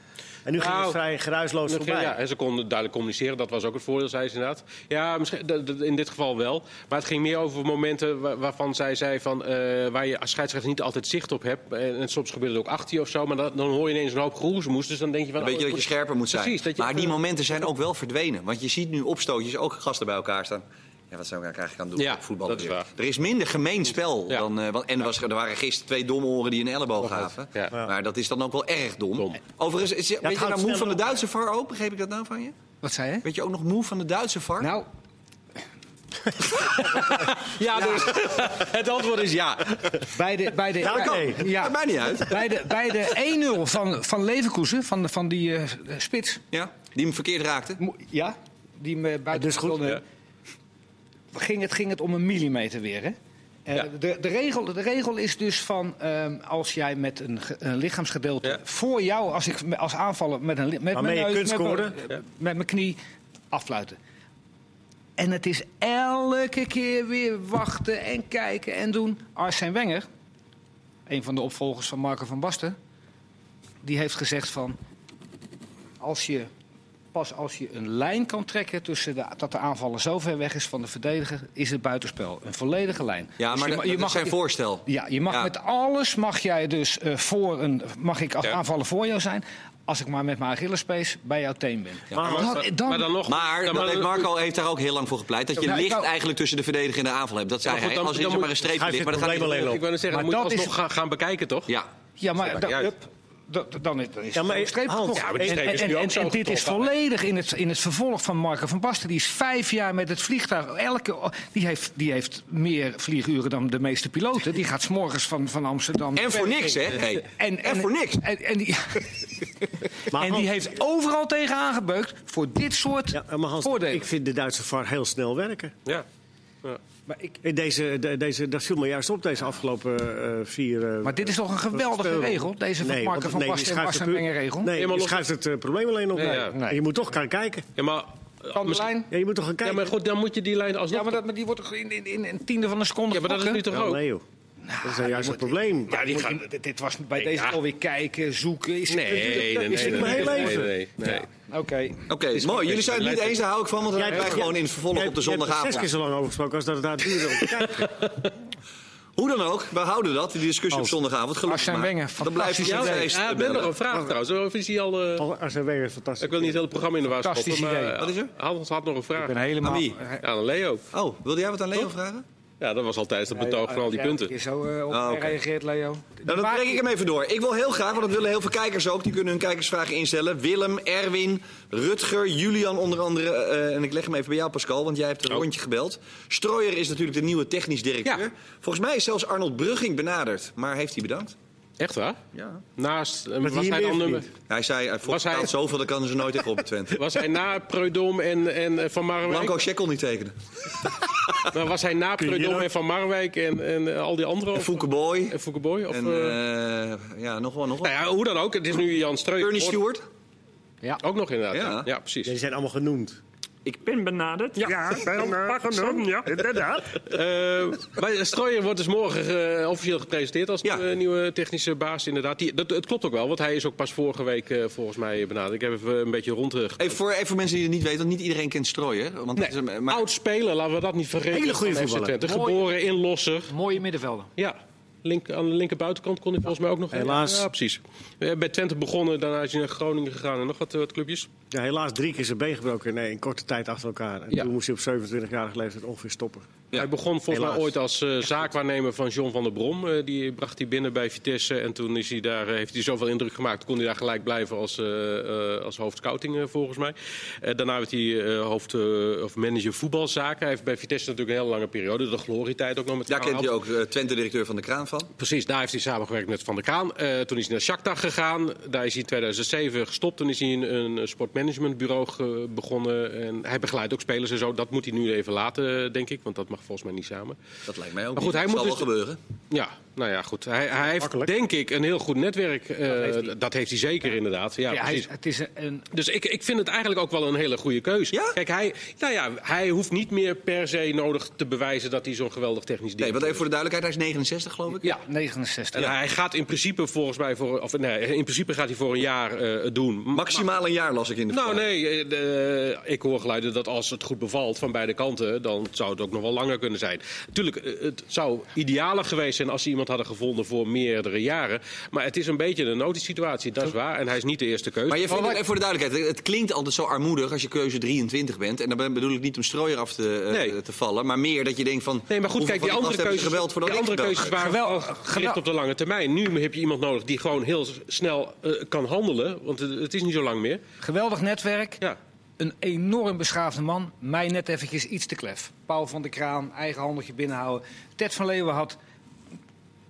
Speaker 1: En nu ging
Speaker 4: Nou,
Speaker 1: het vrij geruisloos
Speaker 4: Dat ging-
Speaker 1: voorbij.
Speaker 4: Ja, en ze konden duidelijk communiceren, dat was ook het voordeel, zei ze inderdaad. Ja, misschien, dat- dat- in dit geval wel. Maar het ging meer over momenten wa- waarvan zij zei van... eh, waar je als scheidsrechter niet altijd zicht op hebt. Eh, En, en soms gebeurt het ook achter je of zo. Maar dan, dan hoor je ineens een hoop geroezemoes. Dus dan denk je van...
Speaker 2: Dan weet
Speaker 4: oh,
Speaker 2: je
Speaker 4: ik
Speaker 2: dat je
Speaker 4: moet-
Speaker 2: scherper moet zijn.
Speaker 4: Precies, dat je
Speaker 2: maar die
Speaker 4: even-
Speaker 2: momenten zijn ook wel verdwenen. Want je ziet nu opstootjes ook gasten bij elkaar staan. Ja, wat zijn we eigenlijk aan het doen?
Speaker 4: Ja,
Speaker 2: op voetbal
Speaker 4: dat is
Speaker 2: weer?
Speaker 4: waar.
Speaker 2: Er is minder gemeen spel.
Speaker 4: Ja.
Speaker 2: Dan, eh, want, en er, was, er waren gisteren twee domme oren die een elleboog gaven.
Speaker 4: Ja. Ja.
Speaker 2: Maar dat is dan ook wel erg dom.
Speaker 4: Dom.
Speaker 2: Overigens, is, weet je
Speaker 1: houdt
Speaker 2: nou moe
Speaker 1: sneller
Speaker 2: van de
Speaker 1: op.
Speaker 2: Duitse VAR ook? Begreep ik dat nou van je?
Speaker 3: Wat zei je?
Speaker 2: Weet je ook nog moe van de Duitse VAR?
Speaker 3: Nou,
Speaker 2: ja, dus <laughs> het antwoord is ja.
Speaker 3: bij de, bij de,
Speaker 1: Nou,
Speaker 3: ja,
Speaker 1: kan.
Speaker 2: Ja. Maakt mij niet uit.
Speaker 3: bij de, bij de 1-0 van, van Leverkusen, van, van die eh, spits.
Speaker 2: Ja, die hem verkeerd raakte.
Speaker 3: Mo- Ja, die me buiten
Speaker 1: Dus goed,
Speaker 3: kon, eh,
Speaker 4: ja.
Speaker 3: ging, het, ging het om een millimeter weer, hè? Eh,
Speaker 4: Ja.
Speaker 3: de, de, regel, de regel is dus van ehm, als jij met een, ge- een lichaamsgedeelte
Speaker 4: Ja.
Speaker 3: voor jou, als ik me- als aanvaller met een li- met
Speaker 1: Waarmee
Speaker 3: mijn
Speaker 1: je
Speaker 3: neus,
Speaker 1: kunt
Speaker 3: met,
Speaker 1: scoren.
Speaker 3: mijn- met mijn knie affluiten. En het is elke keer weer wachten en kijken en doen. Arsène Wenger, een van de opvolgers van Marco van Basten, die heeft gezegd van als je pas als je een lijn kan trekken tussen de, dat de aanvaller zo ver weg is van de verdediger, is het buitenspel. Een volledige lijn.
Speaker 2: Ja,
Speaker 3: Dus
Speaker 2: maar
Speaker 3: je,
Speaker 2: dat,
Speaker 3: ma- je
Speaker 2: dat is
Speaker 3: mag
Speaker 2: zijn voorstel.
Speaker 3: Ja, je mag
Speaker 2: Ja.
Speaker 3: met alles mag jij dus eh, voor een mag ik als
Speaker 4: Ja.
Speaker 3: aanvaller voor jou zijn, als ik maar met mijn Achillespees bij jouw teen ben.
Speaker 1: Maar-
Speaker 3: Dan- dan-
Speaker 4: maar dan nog...
Speaker 2: Maar
Speaker 4: dan-
Speaker 2: dat heeft Marco heeft daar ook heel lang voor gepleit. Dat je
Speaker 3: Nou, ik
Speaker 2: licht
Speaker 3: wou-
Speaker 2: eigenlijk tussen de verdediger en de aanval hebt. Dat zei
Speaker 4: Maar goed,
Speaker 2: hij.
Speaker 4: dan-
Speaker 2: Als er
Speaker 4: dan
Speaker 2: zeg maar
Speaker 4: moet-
Speaker 2: een streepje
Speaker 1: schuif je
Speaker 2: ligt, maar
Speaker 1: het
Speaker 2: dat gaat niet
Speaker 1: probleem
Speaker 4: Ik
Speaker 1: alleen
Speaker 4: wil net zeggen,
Speaker 3: Maar
Speaker 4: dan moet je
Speaker 3: dat is-
Speaker 4: alsnog gaan, gaan bekijken, toch?
Speaker 2: Ja.
Speaker 3: ja, maar
Speaker 2: maakt
Speaker 3: dan,
Speaker 2: niet uit.
Speaker 3: hup, dan, dan is dan is
Speaker 1: Ja, maar-
Speaker 3: het streep
Speaker 1: Hans,
Speaker 3: gekocht.
Speaker 1: ja,
Speaker 4: maar die
Speaker 3: En-
Speaker 4: streep is
Speaker 3: en-
Speaker 4: nu ook
Speaker 3: en-
Speaker 4: zo
Speaker 3: en dit
Speaker 4: gekocht,
Speaker 3: is volledig in het, in het vervolg van Marco van Basten. Die is vijf jaar met het vliegtuig. Elke, die, heeft, die heeft meer vlieguren dan de meeste piloten. Die gaat s'morgens van, van Amsterdam.
Speaker 2: En voor niks, hè? Hey. En, voor niks.
Speaker 3: En, en, die,
Speaker 1: Maar
Speaker 3: en
Speaker 1: Hans-
Speaker 3: die heeft overal tegen aangebeukt voor dit soort
Speaker 1: Ja, maar Hans,
Speaker 3: voordelen.
Speaker 1: ik vind de Duitse VAR heel snel werken.
Speaker 4: Ja. Ja.
Speaker 3: maar, ik,
Speaker 1: In Deze, de- deze, dat viel me juist op deze afgelopen eh, vier... eh,
Speaker 3: maar dit is toch een geweldige
Speaker 1: spelen.
Speaker 3: regel, deze van
Speaker 1: Nee,
Speaker 3: Marco
Speaker 1: want-
Speaker 3: van
Speaker 1: nee, je
Speaker 3: Basten en
Speaker 1: schuift het
Speaker 3: Basten
Speaker 1: pu-
Speaker 3: Mengenregel.
Speaker 1: Nee,
Speaker 4: Helemaal
Speaker 1: je
Speaker 4: los-
Speaker 1: schuift het eh, probleem alleen op.
Speaker 4: Nee,
Speaker 1: Nee.
Speaker 4: ja.
Speaker 1: En Je moet toch gaan kijken.
Speaker 4: Ja, maar... eh,
Speaker 3: Van de
Speaker 4: misschien-
Speaker 3: lijn.
Speaker 1: Ja, je moet toch gaan
Speaker 4: Ja,
Speaker 1: kijken.
Speaker 4: maar goed, dan moet je die lijn alsnog...
Speaker 3: Ja, maar, dat, maar die wordt toch in, in, in een tiende van een seconde
Speaker 4: Ja, maar dat is
Speaker 3: getrokken?
Speaker 4: nu toch
Speaker 1: Ja,
Speaker 4: ook?
Speaker 1: nee, joh. dat is nou juist het probleem.
Speaker 3: Ja, die gaan... dit, dit was bij deze
Speaker 4: ja.
Speaker 3: alweer kijken, zoeken. Is
Speaker 4: Nee, nee, nee.
Speaker 3: is
Speaker 4: nee,
Speaker 3: het
Speaker 1: mijn
Speaker 4: nee,
Speaker 1: hele
Speaker 4: nee,
Speaker 1: leven.
Speaker 4: nee, nee.
Speaker 3: Oké.
Speaker 2: Oké, mooi. Jullie zijn het niet eens, daar hou ik van. Want dan hebben wij gewoon in het vervolg
Speaker 1: Jij-
Speaker 2: op de
Speaker 1: jij hebt er
Speaker 2: zondagavond.
Speaker 1: zes keer zo lang over gesproken als dat het daar duurde. om te
Speaker 4: <laughs>
Speaker 1: kijken.
Speaker 2: Hoe dan ook, we houden dat, die discussie op zondagavond. Gelukkig
Speaker 3: Arsène
Speaker 2: maar.
Speaker 3: Wenger,
Speaker 2: Dan blijft het
Speaker 4: Ja,
Speaker 2: jouw
Speaker 4: nee.
Speaker 2: feest.
Speaker 4: Ah,
Speaker 2: eh,
Speaker 4: ik ben nog
Speaker 2: bellen.
Speaker 4: een vraag trouwens. Of is hij al... eh,
Speaker 1: Al- Arsène Wenger is fantastisch.
Speaker 4: ik wil niet het hele programma in de war
Speaker 3: Fantastisch
Speaker 4: stoppen. Maar,
Speaker 3: idee.
Speaker 4: eh,
Speaker 2: Wat is er?
Speaker 4: Hans had nog een
Speaker 3: Ik
Speaker 4: vraag.
Speaker 3: ben helemaal...
Speaker 2: Aan wie?
Speaker 3: Eh,
Speaker 4: Ja, aan Leo.
Speaker 2: Oh, wilde jij wat aan Leo vragen?
Speaker 4: Ja, dat was altijd het betoog van al die
Speaker 3: ja,
Speaker 4: punten.
Speaker 3: je Zo eh, op
Speaker 2: Ah, oké.
Speaker 3: reageert Leo.
Speaker 2: Nou, dan breng ik hem even door. Ik wil heel graag, want dat willen heel veel kijkers ook. Die kunnen hun kijkersvragen instellen. Willem, Erwin, Rutger, Julian onder andere. eh, en ik leg hem even bij jou, Pascal, want jij hebt een rondje gebeld. Strooier is natuurlijk de nieuwe technisch directeur.
Speaker 4: Oh. Ja.
Speaker 2: Volgens mij is zelfs Arnold Brugging benaderd. Maar heeft hij bedankt?
Speaker 4: Echt waar?
Speaker 2: Ja.
Speaker 4: Naast... eh,
Speaker 1: hij
Speaker 4: Was
Speaker 1: hier
Speaker 4: hij, dan
Speaker 1: meer
Speaker 4: nummer,
Speaker 2: Hij zei, hij
Speaker 4: Was hij-
Speaker 2: betaalt zoveel, dat kan ze nooit tegen op
Speaker 4: <laughs>
Speaker 2: Twente.
Speaker 4: was hij na Preudom en, en eh, Van Marwijk?
Speaker 2: Blanco check kon niet tekenen.
Speaker 4: Nou, was hij na
Speaker 1: je
Speaker 4: Preudom
Speaker 1: dat?
Speaker 4: en Van Marwijk en, en eh, al die anderen?
Speaker 2: En
Speaker 4: Of-
Speaker 2: Fouke Boy.
Speaker 4: En Foukeboy? Of,
Speaker 2: En
Speaker 4: eh,
Speaker 2: eh, ja, nog wel, nog wel.
Speaker 4: nou ja, hoe dan ook. Het is nu Jan Streuer.
Speaker 2: Ernie Stewart.
Speaker 4: Ook nog inderdaad.
Speaker 2: Ja.
Speaker 4: Ja, ja precies.
Speaker 1: Die zijn allemaal genoemd.
Speaker 5: Ik ben benaderd. Ja,
Speaker 1: bijna genoemd.
Speaker 5: ja.
Speaker 1: Inderdaad.
Speaker 4: Eh, wij- Strooijer wordt dus morgen eh, officieel gepresenteerd als
Speaker 2: Ja.
Speaker 4: nieuwe, nieuwe technische baas. Inderdaad. Die, dat, het klopt ook wel, want hij is ook pas vorige week eh, volgens mij benaderd. Ik heb even eh, een beetje rondrug.
Speaker 2: Even voor, even voor mensen die het niet weten, want niet iedereen kent Strooier. Want dat is een- maar-
Speaker 4: Oud speler, laten we dat niet vergeten.
Speaker 1: Hele goede
Speaker 4: van FC
Speaker 1: voetballer.
Speaker 4: Twente.
Speaker 3: Mooi.
Speaker 4: Geboren in Losser.
Speaker 3: <laughs> Mooie middenvelder.
Speaker 4: Ja. Link, aan de linker buitenkant kon ik volgens mij ook nog.
Speaker 1: Helaas.
Speaker 4: Ja, precies. Eh, Bij Twente begonnen, daarna is hij naar Groningen gegaan en nog wat, eh, wat clubjes.
Speaker 1: Ja, helaas drie keer zijn been gebroken nee, in korte tijd achter elkaar. En
Speaker 4: Ja.
Speaker 1: toen moest hij op 27-jarige leeftijd ongeveer stoppen.
Speaker 2: Ja.
Speaker 4: Hij begon volgens mij
Speaker 1: Helaas.
Speaker 4: ooit als eh, zaakwaarnemer van John van der Brom. Eh, die bracht hij binnen bij Vitesse. En toen is hij daar, eh, heeft hij zoveel indruk gemaakt. kon hij daar gelijk blijven als, eh, eh, als hoofdscouting, eh, volgens mij. Eh, daarna werd hij eh, hoofd, eh, of manager voetbalzaken. Hij heeft bij Vitesse natuurlijk een hele lange periode. De glorietijd ook nog met
Speaker 2: daar
Speaker 4: Kraan
Speaker 2: kent je
Speaker 4: gehad.
Speaker 2: ook eh, Twente-directeur van de Kraan van.
Speaker 4: Precies, daar heeft hij samengewerkt met Van der Kraan. Eh, toen is hij naar Shakhtar gegaan. Daar is hij in 2007 gestopt. Toen is hij een, een sportmanagementbureau ge- begonnen. En hij begeleidt ook spelers en zo. Dat moet hij nu even laten, eh, denk ik. Want dat mag volgens mij niet samen.
Speaker 2: Dat lijkt mij ook.
Speaker 4: Maar goed,
Speaker 2: niet.
Speaker 4: hij
Speaker 2: Dat
Speaker 4: moet
Speaker 2: zal
Speaker 4: dus-
Speaker 2: wel gebeuren.
Speaker 4: Ja, nou ja, goed. Hij, hij heeft denk ik een heel goed netwerk. Eh, dat, heeft hij. zeker inderdaad. Ja,
Speaker 3: Ja, hij,
Speaker 4: precies.
Speaker 3: is- het is een, een
Speaker 4: Dus ik, ik vind het eigenlijk ook wel een hele goede keus.
Speaker 2: Ja?
Speaker 4: Kijk, hij, nou ja, hij hoeft niet meer per se nodig te bewijzen dat hij zo'n geweldig technisch
Speaker 2: Nee,
Speaker 4: directeur
Speaker 2: want even voor de duidelijkheid, hij is 69 geloof ik.
Speaker 4: is. Ja.
Speaker 3: 69.
Speaker 4: En hij gaat in principe volgens mij voor, of nee, in principe gaat hij voor een jaar eh, het doen.
Speaker 2: Maximaal een jaar las ik in de
Speaker 4: Nou
Speaker 2: verklaring.
Speaker 4: nee, eh, de- ik hoor geluiden dat als het goed bevalt van beide kanten, dan zou het ook nog wel langer kunnen zijn. Tuurlijk, eh, het zou idealer geweest zijn als ze iemand hadden gevonden voor meerdere jaren. Maar het is een beetje een noodsituatie, dat is waar. En hij is niet de eerste keuze.
Speaker 2: Maar je vindt het, even voor de duidelijkheid, het klinkt altijd zo armoedig als je keuze 23 bent. En dan ben- bedoel ik niet om strooier af te, eh,
Speaker 4: Nee.
Speaker 2: te vallen, maar meer dat je denkt van...
Speaker 4: Nee, maar goed,
Speaker 2: hoeveel
Speaker 4: kijk, die
Speaker 2: van
Speaker 4: andere
Speaker 2: gasten hebben ze
Speaker 4: keuzes,
Speaker 2: gebeld voordat
Speaker 4: die
Speaker 2: ik
Speaker 4: andere
Speaker 2: gebeld
Speaker 4: keuzes
Speaker 2: heb?
Speaker 4: waren wel Oh, gericht op de lange termijn. Nu heb je iemand nodig die gewoon heel s- snel eh, kan handelen, want het, het is niet zo lang meer.
Speaker 3: Geweldig netwerk.
Speaker 4: Ja.
Speaker 3: Een enorm beschaafde man. Mij net eventjes iets te klef. Paul van der Kraan, eigen handeltje binnenhouden. Ted van Leeuwen had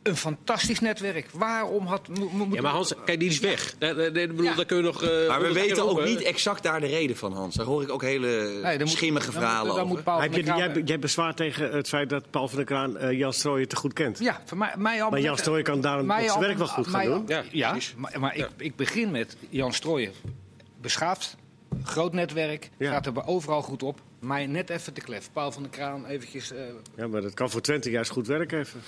Speaker 3: een fantastisch netwerk. Waarom had... mo- mo- moet-
Speaker 4: Ja, maar Hans, kijk, die is weg. Eh, eh, eh, Ik bedoel,
Speaker 3: Ja.
Speaker 4: daar kun je nog... eh,
Speaker 2: Maar we
Speaker 4: honderd keer
Speaker 2: weten ook
Speaker 4: roepen.
Speaker 2: niet exact daar de reden van, Hans. Daar hoor ik ook hele
Speaker 3: Nee, dan moet-
Speaker 2: schimmige
Speaker 3: dan moet-
Speaker 2: verhalen
Speaker 3: dan moet
Speaker 2: over.
Speaker 3: Paul van
Speaker 1: Heb
Speaker 3: der
Speaker 1: je, jij,
Speaker 3: Kraan-
Speaker 4: eh.
Speaker 1: jij hebt bezwaar tegen het feit dat Paul van der Kraan eh, Jan Strooijen te goed kent.
Speaker 3: Ja, voor mij, mij al
Speaker 1: Maar Jan Strooijen kan daarom
Speaker 3: Mij
Speaker 1: ook zijn
Speaker 3: al-
Speaker 1: werk wel goed gaan
Speaker 3: mij al-
Speaker 1: doen.
Speaker 4: Ja,
Speaker 3: Ja,
Speaker 4: precies.
Speaker 3: maar, maar Ik, ik begin met Jan Strooijen. Beschaafd, groot netwerk,
Speaker 1: Ja.
Speaker 3: gaat er overal goed op. Mij net even te klef. Paul van der Kraan eventjes... eh,
Speaker 1: Ja, maar dat kan voor Twente juist goed werken even.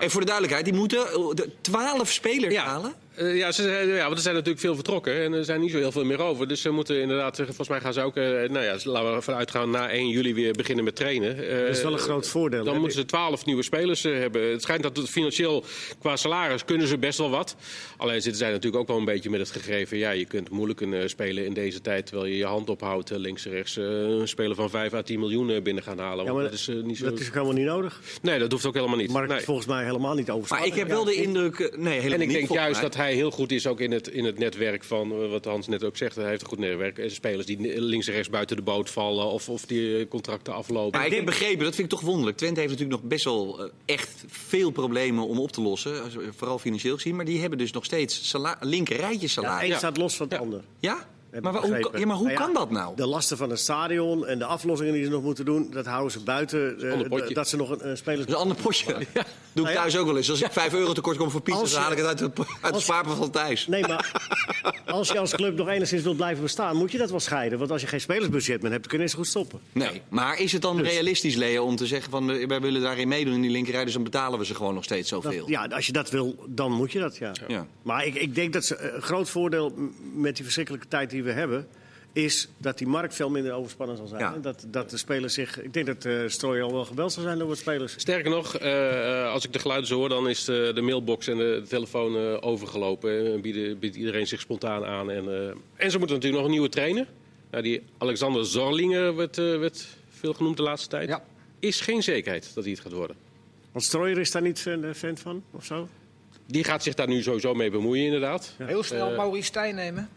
Speaker 2: En voor de duidelijkheid, die moeten eh, de 12 spelers halen.
Speaker 4: Eh, ja, ze, zijn- ja, want er zijn natuurlijk veel vertrokken en er zijn niet zo heel veel meer over. Dus ze moeten inderdaad, eh, volgens mij gaan ze ook, eh, nou ja, laten we vanuit gaan, na 1 juli weer beginnen met trainen. Eh,
Speaker 1: Dat is wel een groot voordeel.
Speaker 4: Dan
Speaker 1: hè?
Speaker 4: moeten ze 12 nieuwe spelers eh, hebben. Het schijnt dat het financieel, qua salaris, kunnen ze best wel wat. Alleen zitten zij natuurlijk ook wel een beetje met het gegeven, ja, je kunt moeilijk een eh, speler in deze tijd, terwijl je je hand ophoudt, eh, links en rechts, eh, een speler van 5 à 10 miljoen eh, binnen gaan halen.
Speaker 1: Ja,
Speaker 4: want
Speaker 1: maar
Speaker 4: dat is eh, niet zo...
Speaker 1: Dat is ook helemaal niet nodig.
Speaker 4: Nee, dat hoeft ook helemaal niet.
Speaker 1: Mark
Speaker 4: Nee.
Speaker 1: is volgens mij helemaal niet overspannen.
Speaker 2: Maar ik heb wel de indruk... eh, Nee, helemaal
Speaker 4: En ik
Speaker 2: niet,
Speaker 4: denk
Speaker 2: volgens
Speaker 4: juist
Speaker 2: mij.
Speaker 4: dat hij heel goed is ook in het, in het netwerk van eh, wat Hans net ook zegt. Hij heeft een goed netwerk. Eh, Spelers die ne- links en rechts buiten de boot vallen of, of die eh, contracten aflopen.
Speaker 2: Maar ik heb begrepen, dat vind ik toch wonderlijk. Twente heeft natuurlijk nog best wel eh, echt veel problemen om op te lossen. eh, als- Vooral financieel gezien. Maar die hebben dus nog steeds sala- linker rijtje
Speaker 1: Ja,
Speaker 2: salaris.
Speaker 1: Eén
Speaker 2: Ja?
Speaker 1: staat los van het ander.
Speaker 2: ja?
Speaker 1: heb
Speaker 2: Maar
Speaker 1: ik
Speaker 2: wa- hoe
Speaker 1: begrepen.
Speaker 2: kan- ja, maar hoe kan dat nou?
Speaker 1: De lasten van het stadion en de aflossingen die ze nog moeten doen, dat houden ze buiten. eh,
Speaker 4: ander potje.
Speaker 1: d- dat ze nog een, een speler.
Speaker 2: <laughs> Dat is een ander potje. Doe ik
Speaker 1: Nou ja.
Speaker 2: thuis ook wel eens. Als ik 5 euro tekort kom voor pizza,
Speaker 1: Als
Speaker 2: dan
Speaker 1: je-
Speaker 2: haal ik het uit het, uit het
Speaker 1: als-
Speaker 2: spaarpot van Thijs.
Speaker 1: Nee, maar als je als club nog enigszins wilt blijven bestaan, moet je dat wel scheiden. Want als je geen spelersbudget meer hebt, dan kun je eens goed stoppen.
Speaker 2: Nee, maar is het dan
Speaker 1: Dus-
Speaker 2: realistisch, Leo, om te zeggen van eh, wij willen daarin meedoen in die linkerrij, dus dan betalen we ze gewoon nog steeds
Speaker 1: Dat-
Speaker 2: zoveel?
Speaker 1: ja, als je dat wil, dan moet je dat, ja.
Speaker 2: Ja.
Speaker 1: Maar ik, ik denk dat ze, eh, een groot voordeel m- met die verschrikkelijke tijd die we hebben... is dat die markt veel minder overspannen zal zijn.
Speaker 2: Ja.
Speaker 1: En dat, dat de spelers zich... Ik denk dat eh Strooij al wel gebeld zal zijn door wat spelers.
Speaker 4: Sterker nog, eh, eh, als ik de geluiden zo hoor, dan is de, de mailbox en de, telefoon eh, overgelopen. En eh, bieden, biedt iedereen zich spontaan aan. En, eh, en ze moeten natuurlijk nog een nieuwe trainer. Nou, die Alexander Zorlinger werd, eh, werd veel genoemd de laatste tijd.
Speaker 3: Ja.
Speaker 4: Is geen zekerheid dat hij het gaat worden.
Speaker 1: Want Strooijer is daar niet een fan van, of zo?
Speaker 4: Die gaat zich daar nu sowieso mee bemoeien, inderdaad.
Speaker 3: Heel snel
Speaker 4: Eh,
Speaker 3: Maurice Stijn nemen.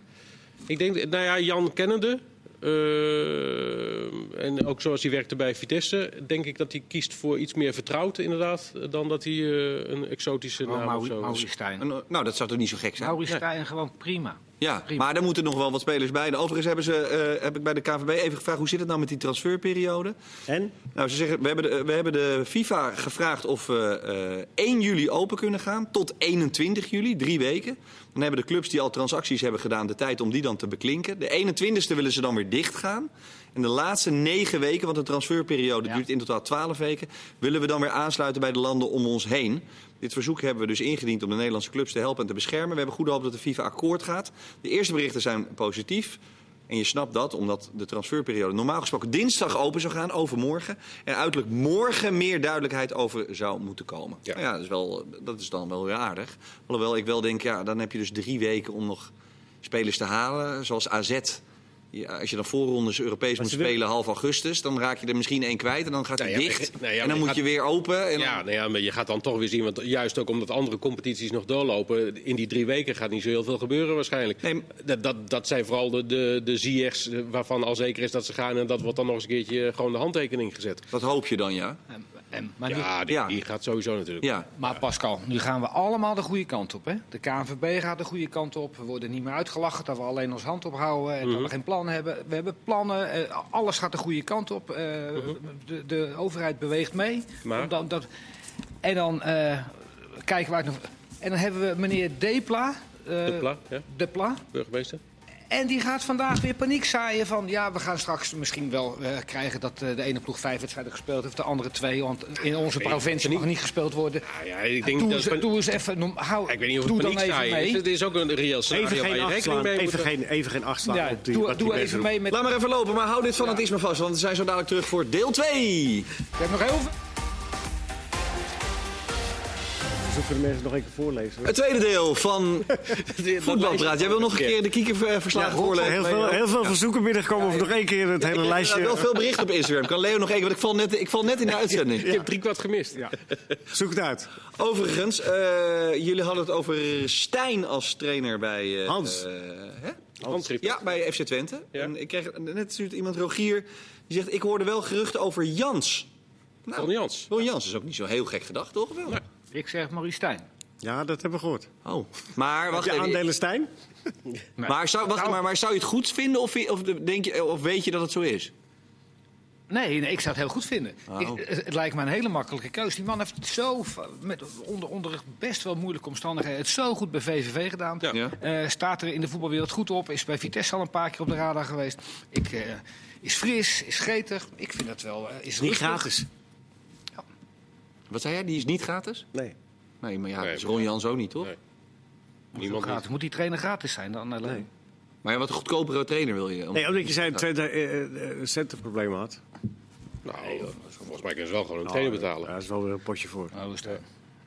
Speaker 4: Ik denk, nou ja, Jan kennende. eh, en ook zoals hij werkte bij Vitesse, denk ik dat hij kiest voor iets meer vertrouwd, inderdaad, dan dat hij eh, een exotische
Speaker 3: Oh,
Speaker 4: naam of
Speaker 3: Mauri-
Speaker 4: zo.
Speaker 3: Maurice Stijn.
Speaker 2: En, eh, Nou, dat zou toch niet zo gek zijn?
Speaker 3: Maurice Stijn gewoon prima.
Speaker 2: Ja,
Speaker 3: Prima.
Speaker 2: maar daar moeten nog wel wat spelers bij. En overigens hebben ze, eh, heb ik bij de KVB even gevraagd hoe zit het nou met die transferperiode.
Speaker 1: En?
Speaker 2: Nou, ze zeggen, we hebben de, we hebben de FIFA gevraagd of we eh, 1 juli open kunnen gaan tot 21 juli, drie weken. Dan hebben de clubs die al transacties hebben gedaan de tijd om die dan te beklinken. De 21ste willen ze dan weer dicht gaan. En de laatste negen weken, want de transferperiode duurt in totaal 12 weken, willen we dan weer aansluiten bij de landen om ons heen. Dit verzoek hebben we dus ingediend om de Nederlandse clubs te helpen en te beschermen. We hebben goede hoop dat de FIFA akkoord gaat. De eerste berichten zijn positief. En je snapt dat, omdat de transferperiode normaal gesproken dinsdag open zou gaan, overmorgen. En uiterlijk morgen meer duidelijkheid over zou moeten komen. Ja,
Speaker 4: Ja.
Speaker 2: ja dat, is wel, dat is dan wel weer aardig. Alhoewel ik wel denk, ja, dan heb je dus drie weken om nog spelers te halen. Zoals AZ. Ja, als je dan voorrondes Europees moet
Speaker 1: ze willen-
Speaker 2: spelen half augustus, dan raak je er misschien één kwijt. En dan gaat hij
Speaker 4: Nou ja,
Speaker 2: dicht.
Speaker 4: maar- nou ja,
Speaker 2: en
Speaker 4: maar
Speaker 2: dan
Speaker 4: je
Speaker 2: moet
Speaker 4: gaat-
Speaker 2: je weer open. En
Speaker 4: Ja,
Speaker 2: dan-
Speaker 4: nou ja, maar je gaat dan toch weer zien, want juist ook omdat andere competities nog doorlopen, in die drie weken gaat niet zo heel veel gebeuren waarschijnlijk.
Speaker 2: Nee, m-
Speaker 4: dat, dat, dat zijn vooral de, de, de ziers eh, waarvan al zeker is dat ze gaan en dat wordt dan nog eens een keertje eh, gewoon de handtekening gezet.
Speaker 2: Dat hoop je dan, ja.
Speaker 3: En, en, maar nu-
Speaker 4: Ja, die,
Speaker 2: Ja.
Speaker 4: die gaat sowieso natuurlijk.
Speaker 2: ja.
Speaker 3: Maar Pascal, nu gaan we allemaal de goede kant op. Hè? De KNVB gaat de goede kant op. We worden niet meer uitgelachen dat we alleen ons hand ophouden en dat we geen plan hebben. We hebben plannen, eh, alles gaat de goede kant op. eh, de, de overheid beweegt mee.
Speaker 4: Maar?
Speaker 3: Om dan dat, en dan eh, kijken we uit nog. En dan hebben we meneer Depla. eh,
Speaker 4: De pla, ja,
Speaker 3: Depla.
Speaker 4: burgemeester.
Speaker 3: En die gaat vandaag weer paniek zaaien van... ja, we gaan straks misschien wel eh, krijgen dat eh, de ene ploeg vijf wedstrijden gespeeld heeft... de andere twee, want in onze provincie mag niet gespeeld worden.
Speaker 4: Nou ja, ik denk
Speaker 3: Doe,
Speaker 4: dat
Speaker 3: eens,
Speaker 4: is-
Speaker 3: doe eens even, noem- hou,
Speaker 4: Ik weet niet of
Speaker 3: doe
Speaker 4: het
Speaker 3: dan
Speaker 4: paniek
Speaker 3: even
Speaker 4: zaaien dus is.
Speaker 3: mee.
Speaker 4: Het is ook een reëel scenario
Speaker 1: Even
Speaker 4: waar
Speaker 1: geen
Speaker 4: je
Speaker 1: acht
Speaker 4: rekening
Speaker 1: slaan.
Speaker 4: mee moet
Speaker 1: Even
Speaker 4: houden.
Speaker 1: geen, even geen acht slaan
Speaker 3: Ja,
Speaker 1: op die,
Speaker 3: doe
Speaker 1: wat die
Speaker 3: doe
Speaker 1: mensen
Speaker 3: even
Speaker 1: roepen.
Speaker 3: mee met...
Speaker 2: Laat maar even lopen, maar hou dit fanatisme vast, want we zijn zo dadelijk terug voor deel 2.
Speaker 3: Ik heb nog heel veel...
Speaker 1: Zullen we de mensen nog even voorlezen?
Speaker 2: Het tweede
Speaker 1: <laughs>
Speaker 2: deel van Voetbalpraat. Jij wil nog een keer de kiekerverslagen voorlezen?
Speaker 1: Heel veel, heel veel verzoeken binnengekomen of nog één keer het hele
Speaker 2: Er wel
Speaker 1: lijstje. eh,
Speaker 2: veel berichten op Instagram. Kan Leo nog één keer, want ik val net, ik val net in de
Speaker 1: <laughs>
Speaker 2: uitzending.
Speaker 4: Ik heb drie kwart gemist.
Speaker 1: Zoek het uit.
Speaker 2: Overigens, eh, jullie hadden het over Stijn als trainer bij... eh,
Speaker 1: Hans.
Speaker 2: eh, hè?
Speaker 4: Handschrift.
Speaker 2: Ja, bij FC Twente.
Speaker 4: Ja.
Speaker 2: En ik kreeg net stuurt iemand Rogier, die zegt, ik hoorde wel geruchten over Jans. Nou,
Speaker 4: Van Jans.
Speaker 2: Ron Jans is ook niet zo heel gek gedacht, toch? Of Wel?
Speaker 3: Ik zeg Maurice Stijn.
Speaker 1: Ja, dat hebben we gehoord.
Speaker 2: Oh. Maar, wacht
Speaker 1: Je
Speaker 2: even.
Speaker 1: aandelen Nou. Stijn?
Speaker 2: Maar, zou, wacht, maar, maar zou je het goed vinden of, of, denk je, of weet je dat het zo is?
Speaker 3: Nee, nee, ik zou het heel goed vinden.
Speaker 1: Ah,
Speaker 2: Oh.
Speaker 3: Ik- het, het lijkt me een hele makkelijke keus. Die man heeft het zo, va- met, onder, onder best wel moeilijke omstandigheden, het zo goed bij VVV gedaan.
Speaker 4: Ja.
Speaker 2: Ja.
Speaker 3: Eh, staat er in de voetbalwereld goed op. Is bij Vitesse al een paar keer op de radar geweest. Ik, eh, is fris, is gretig. Ik vind dat wel. eh, is rustig.
Speaker 2: Wat zei jij? Die is niet gratis?
Speaker 1: Nee.
Speaker 2: Nee, maar ja,
Speaker 4: Nee,
Speaker 2: dat is Ron Jans ook niet, toch?
Speaker 4: Nee.
Speaker 3: Moet,
Speaker 4: Niemand
Speaker 3: gratis. moet die trainer gratis zijn dan eh, alleen?
Speaker 2: Maar ja, wat een goedkopere trainer wil je. Om-
Speaker 1: Nee, omdat je zei Twente eh, eh, eh, centenprobleem had.
Speaker 4: Nou, volgens mij kunnen ze wel gewoon
Speaker 1: Nou,
Speaker 4: een
Speaker 1: eh,
Speaker 4: trainer betalen.
Speaker 1: Daar is wel weer een potje voor.
Speaker 3: Nou, is dat-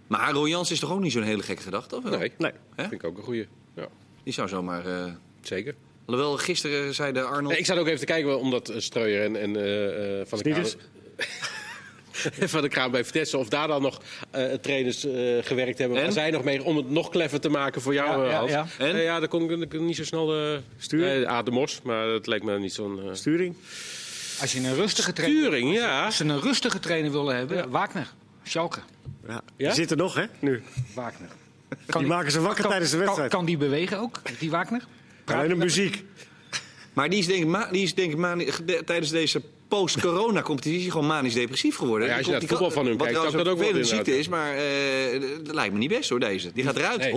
Speaker 2: Maar Ron Jans is toch ook niet zo'n hele gekke gedachte, of wel?
Speaker 4: Nee,
Speaker 1: Nee.
Speaker 4: vind ik ook een goeie. Ja,
Speaker 2: Die zou zomaar... eh
Speaker 4: zeker.
Speaker 2: Alhoewel, gisteren zei de Arnold...
Speaker 4: Nee, ik zat ook even te kijken, omdat eh, Streuer en, en eh, eh, Van de
Speaker 1: Snieders?
Speaker 4: Kraan... <laughs> van de Kraan bij Vitesse, of daar dan nog eh, trainers eh, gewerkt hebben.
Speaker 2: En?
Speaker 4: Waar zij nog mee, om het nog clever te maken voor jou,
Speaker 3: Ja,
Speaker 4: eh,
Speaker 3: ja,
Speaker 4: Hans.
Speaker 3: ja.
Speaker 2: En?
Speaker 4: Eh, ja, daar kon ik, ik kon niet zo snel... eh
Speaker 1: Sturen?
Speaker 4: Nee, A, de Mos, maar dat leek me niet zo'n... eh,
Speaker 1: Sturing?
Speaker 3: Als je een rustige trainer,
Speaker 4: Sturing, ja.
Speaker 3: als ze een rustige trainer willen hebben, Wagner, Schalke,
Speaker 1: Ja.
Speaker 4: Ja?
Speaker 1: Die zit er nog, hè? Nu.
Speaker 3: Wagner. Kan
Speaker 1: Die maken ze wakker
Speaker 3: kan-
Speaker 1: tijdens de
Speaker 3: kan-
Speaker 1: wedstrijd.
Speaker 3: Kan, die bewegen ook, die Wagner?
Speaker 1: Alleen de muziek.
Speaker 2: Maar die is denk ik, ma- die is, denk ik mani- gede- tijdens deze post-corona-competitie gewoon manisch depressief geworden.
Speaker 4: Ja, als
Speaker 2: Die
Speaker 4: je naar het
Speaker 2: ko- die
Speaker 4: voetbal van hem
Speaker 2: wat
Speaker 4: kijkt, zou
Speaker 2: trouwens
Speaker 4: ik dat ook wel
Speaker 2: een vervelende ziekte is, maar eh, dat lijkt me niet best hoor, deze. Die gaat eruit,